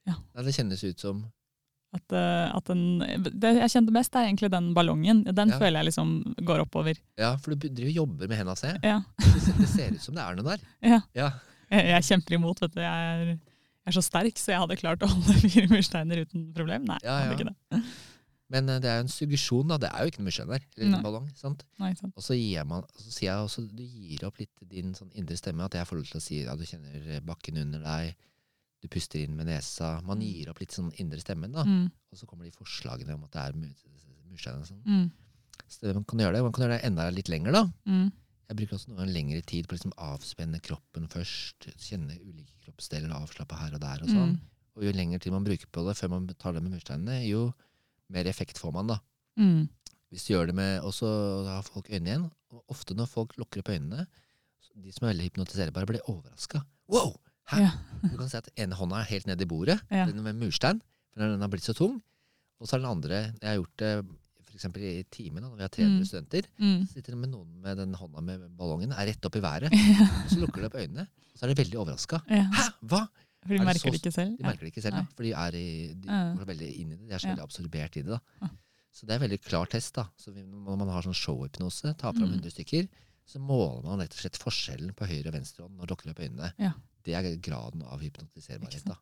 S2: Ja.
S3: Nei, det kjennes ut som
S2: At, eh, at den, det jeg kjente best, er egentlig den ballongen. Den
S3: Ja.
S2: føler jeg liksom går oppover.
S3: Ja, for du driver og jobber med hendene, ser jeg.
S2: Ja.
S3: Det ser- Det ser ut som det er noe der.
S2: Ja.
S3: Ja.
S2: Jeg, jeg kjemper imot, vet du. Jeg er, jeg er så sterk, så jeg hadde klart å holde [laughs] fire mursteiner uten problem. Nei,
S3: Ja, ja.
S2: hadde ikke det.
S3: Men eh, det er jo en suggesjon, da. Det er jo ikke noe muskjønn der. Eller
S2: Nei.
S3: en ballong. sant?
S2: Nei, sant.
S3: Og så gir man, og så sier jeg også, du gir opp litt din sånn indre stemme, at jeg får lov til å si at ja, du kjenner bakken under deg, du puster inn med nesa. Man
S2: Mm.
S3: gir opp litt sånn indre stemmen, da.
S2: Mm,
S3: Og så kommer de forslagene om at det er mu- murstein og sånn.
S2: mm,
S3: Så det man kan gjøre det, man kan gjøre det enda litt lenger, da.
S2: mm.
S3: Jeg bruker også noe lengre tid på å liksom avspenne kroppen først. Kjenne ulike kroppsdeler og avslappe her og der og
S2: Mm.
S3: sånn. Og jo lengre tid man bruker på det før man tar det med mursteinene, jo mer effekt får man, da.
S2: Mm, mm.
S3: Hvis du gjør det med Og så har folk øynene igjen. Og ofte når folk lukker opp øynene, så de som er veldig hypnotiserbare, blir overraska. Wow! Hæ?
S2: Ja.
S3: Du kan se at ene hånda er helt nede i bordet,
S2: Ja.
S3: den med murstein, for den har blitt så tung. Og så er den andre Jeg har gjort det f.eks. i timen, da, når vi har 300
S2: Mm.
S3: studenter.
S2: Mm.
S3: Så sitter det med noen med den hånda med ballongen, er rett opp i været.
S2: [laughs] Ja,
S3: Og så lukker de opp øynene, og så er de veldig overraska.
S2: ja.
S3: Hæ? Hva?
S2: For de
S3: Er det
S2: merker
S3: så-
S2: det ikke selv.
S3: De merker det ikke selv, da,
S2: Nei.
S3: for de er i, de
S2: Ja.
S3: går veldig inn i det. De er så
S2: Ja.
S3: veldig absorbert i det.
S2: Ja.
S3: da. Så det er veldig klar test. da. Så vi- Når man har sånn showhypnose, tar fram
S2: Mm.
S3: 100 stykker, så måler man rett og slett forskjellen på høyre og venstre hånd når du lukker opp øynene.
S2: Ja.
S3: Det er graden av
S2: Ikke
S3: hypnotiserbarhet.
S2: sant?
S3: da.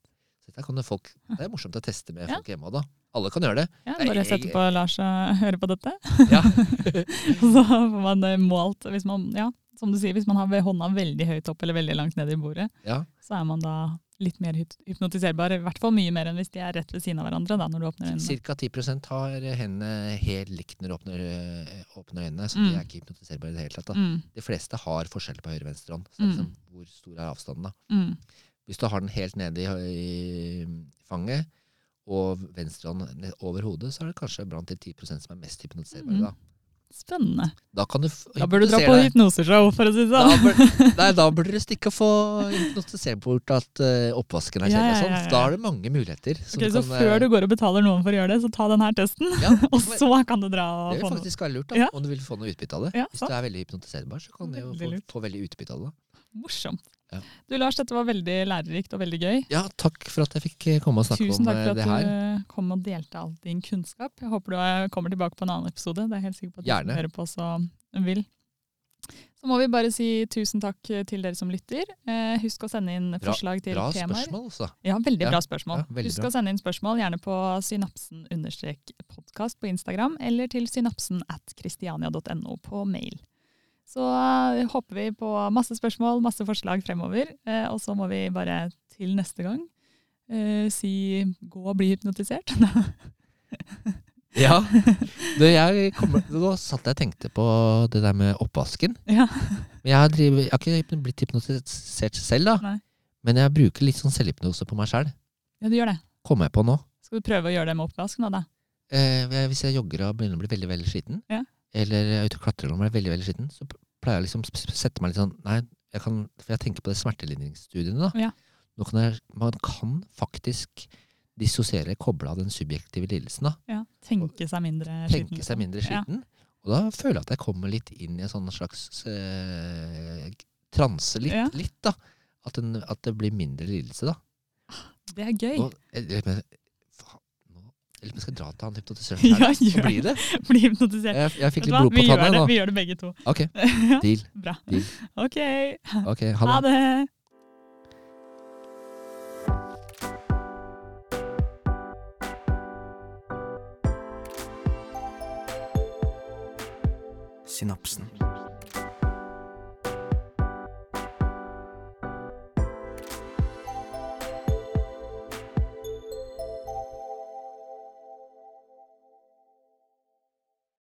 S3: Så dette kan jo folk, Det er morsomt å teste med
S2: Ja.
S3: folk hjemme òg, da. Alle kan gjøre det.
S2: Ja,
S3: Nei,
S2: bare
S3: jeg-
S2: sette på Lars og [laughs] høre på dette.
S3: Ja.
S2: [laughs] Så får man eh, målt hvis man, ja, som du sier, hvis man har ve- hånda veldig høyt opp eller veldig langt ned i bordet,
S3: ja.
S2: så er man da litt mer hyt- hypnotiserbar. I hvert fall mye mer enn hvis de er rett ved siden av hverandre da, når du åpner øynene.
S3: Ca. 10 har hendene helt likt når du åpner, øh, åpner øynene, så de
S2: Mm.
S3: er ikke hypnotiserbare i det hele tatt. da.
S2: Mm,
S3: De fleste har forskjell på høyre og venstre hånd. Så det er
S2: Mm.
S3: liksom, hvor stor er avstanden, da?
S2: mm,
S3: Hvis du har den helt nede i, i fanget og venstre hånd ned over hodet, så er det kanskje blant de 10 som er mest hypnotiserbare.
S2: Mhm.
S3: Da.
S2: spennende.
S3: da kan du f-
S2: Da bør du dra på
S3: hypnotisere deg.
S2: hypnoseshow, for å si det
S3: Da
S2: sånn.
S3: bør, nei, da burde du stikke og få hypnotisere bort at eh, oppvasken er
S2: Ja,
S3: kjedelig. og
S2: ja,
S3: sånn.
S2: ja, ja.
S3: Da er det mange muligheter. eh,
S2: Ok, så før du går og betaler noen for å gjøre det, så ta denne testen,
S3: ja, det
S2: og
S3: kan være-
S2: så kan du dra
S3: Det
S2: og
S3: vil
S2: få noe.
S3: faktisk være lurt, da,
S2: Ja.
S3: om du vil få noe utbytte av det.
S2: Ja,
S3: Hvis
S2: sant.
S3: du er veldig hypnotiserbar, så kan du jo få,
S2: Veldig lurt.
S3: få veldig utbytte av det.
S2: Morsomt.
S3: Ja.
S2: Du Lars, dette var veldig lærerikt og veldig gøy.
S3: Ja, takk for at jeg fikk eh, komme og snakke
S2: Tusen
S3: om
S2: takk
S3: eh,
S2: for
S3: det
S2: at
S3: her.
S2: du kom og delte all din kunnskap. Jeg håper du eh, kommer tilbake på en annen episode. Det er jeg helt sikker på at du
S3: Gjerne.
S2: som hører på også vil. Så må vi bare si tusen takk til dere som lytter. Eh, Husk å sende inn forslag til
S3: Bra
S2: temaer.
S3: spørsmål, altså.
S2: Ja, veldig
S3: Ja,
S2: bra spørsmål.
S3: ja, veldig
S2: Husk
S3: bra.
S2: å sende inn spørsmål gjerne på synapsen-podkast på Instagram eller til synapsen at kristiania.no på mail. Så eh, håper vi på masse spørsmål, masse forslag fremover. Eh, og så må vi bare til neste gang eh, si gå og bli hypnotisert. [laughs]
S3: [laughs] Ja. Du, jeg kommer, nå satt jeg og tenkte på det der med oppvasken.
S2: ja.
S3: Men jeg, driver, jeg har ikke hypno- blitt hypnotisert selv, da.
S2: Nei.
S3: Men jeg bruker litt sånn selvhypnose på meg sjæl.
S2: ja, du gjør det.
S3: Kommer jeg på nå.
S2: Skal du prøve å gjøre det med oppvask nå, da?
S3: Eh, jeg- hvis jeg jogger og begynner å bli veldig veldig sliten,
S2: Ja.
S3: eller jeg er ute og klatrer og blir veldig veldig sliten, så pleier jeg liksom å sette meg litt sånn Nei, jeg kan, for jeg tenker på det smertelindringsstudiene, da.
S2: Ja.
S3: Nå kan jeg, man kan faktisk dissosiere, koble av den subjektive lidelsen. da.
S2: Ja, tenke seg mindre sliten.
S3: Tenke seg mindre
S2: Ja.
S3: sliten. Og da føler jeg at jeg kommer litt inn i en sånn slags eh, transe litt,
S2: Ja.
S3: litt da. At, den, at det blir mindre lidelse, da.
S2: Det er gøy.
S3: Nå, jeg, jeg, jeg, faen, nå, jeg lurer på om jeg skal dra til han hypnotisøren her.
S2: [laughs] Ja,
S3: Hva
S2: gjør
S3: blir det?
S2: Bli hypnotisert.
S3: Jeg, jeg
S2: Vet
S3: fikk
S2: du
S3: litt
S2: hva?
S3: blod
S2: Vi
S3: på
S2: gjør det,
S3: tanna nå.
S2: vi gjør det begge to.
S3: Ok,
S2: [laughs] Ja,
S3: deal.
S2: Bra.
S3: Deal.
S2: Ok,
S3: Ok, ha
S2: ha
S3: det.
S2: det.
S1: Synapsen.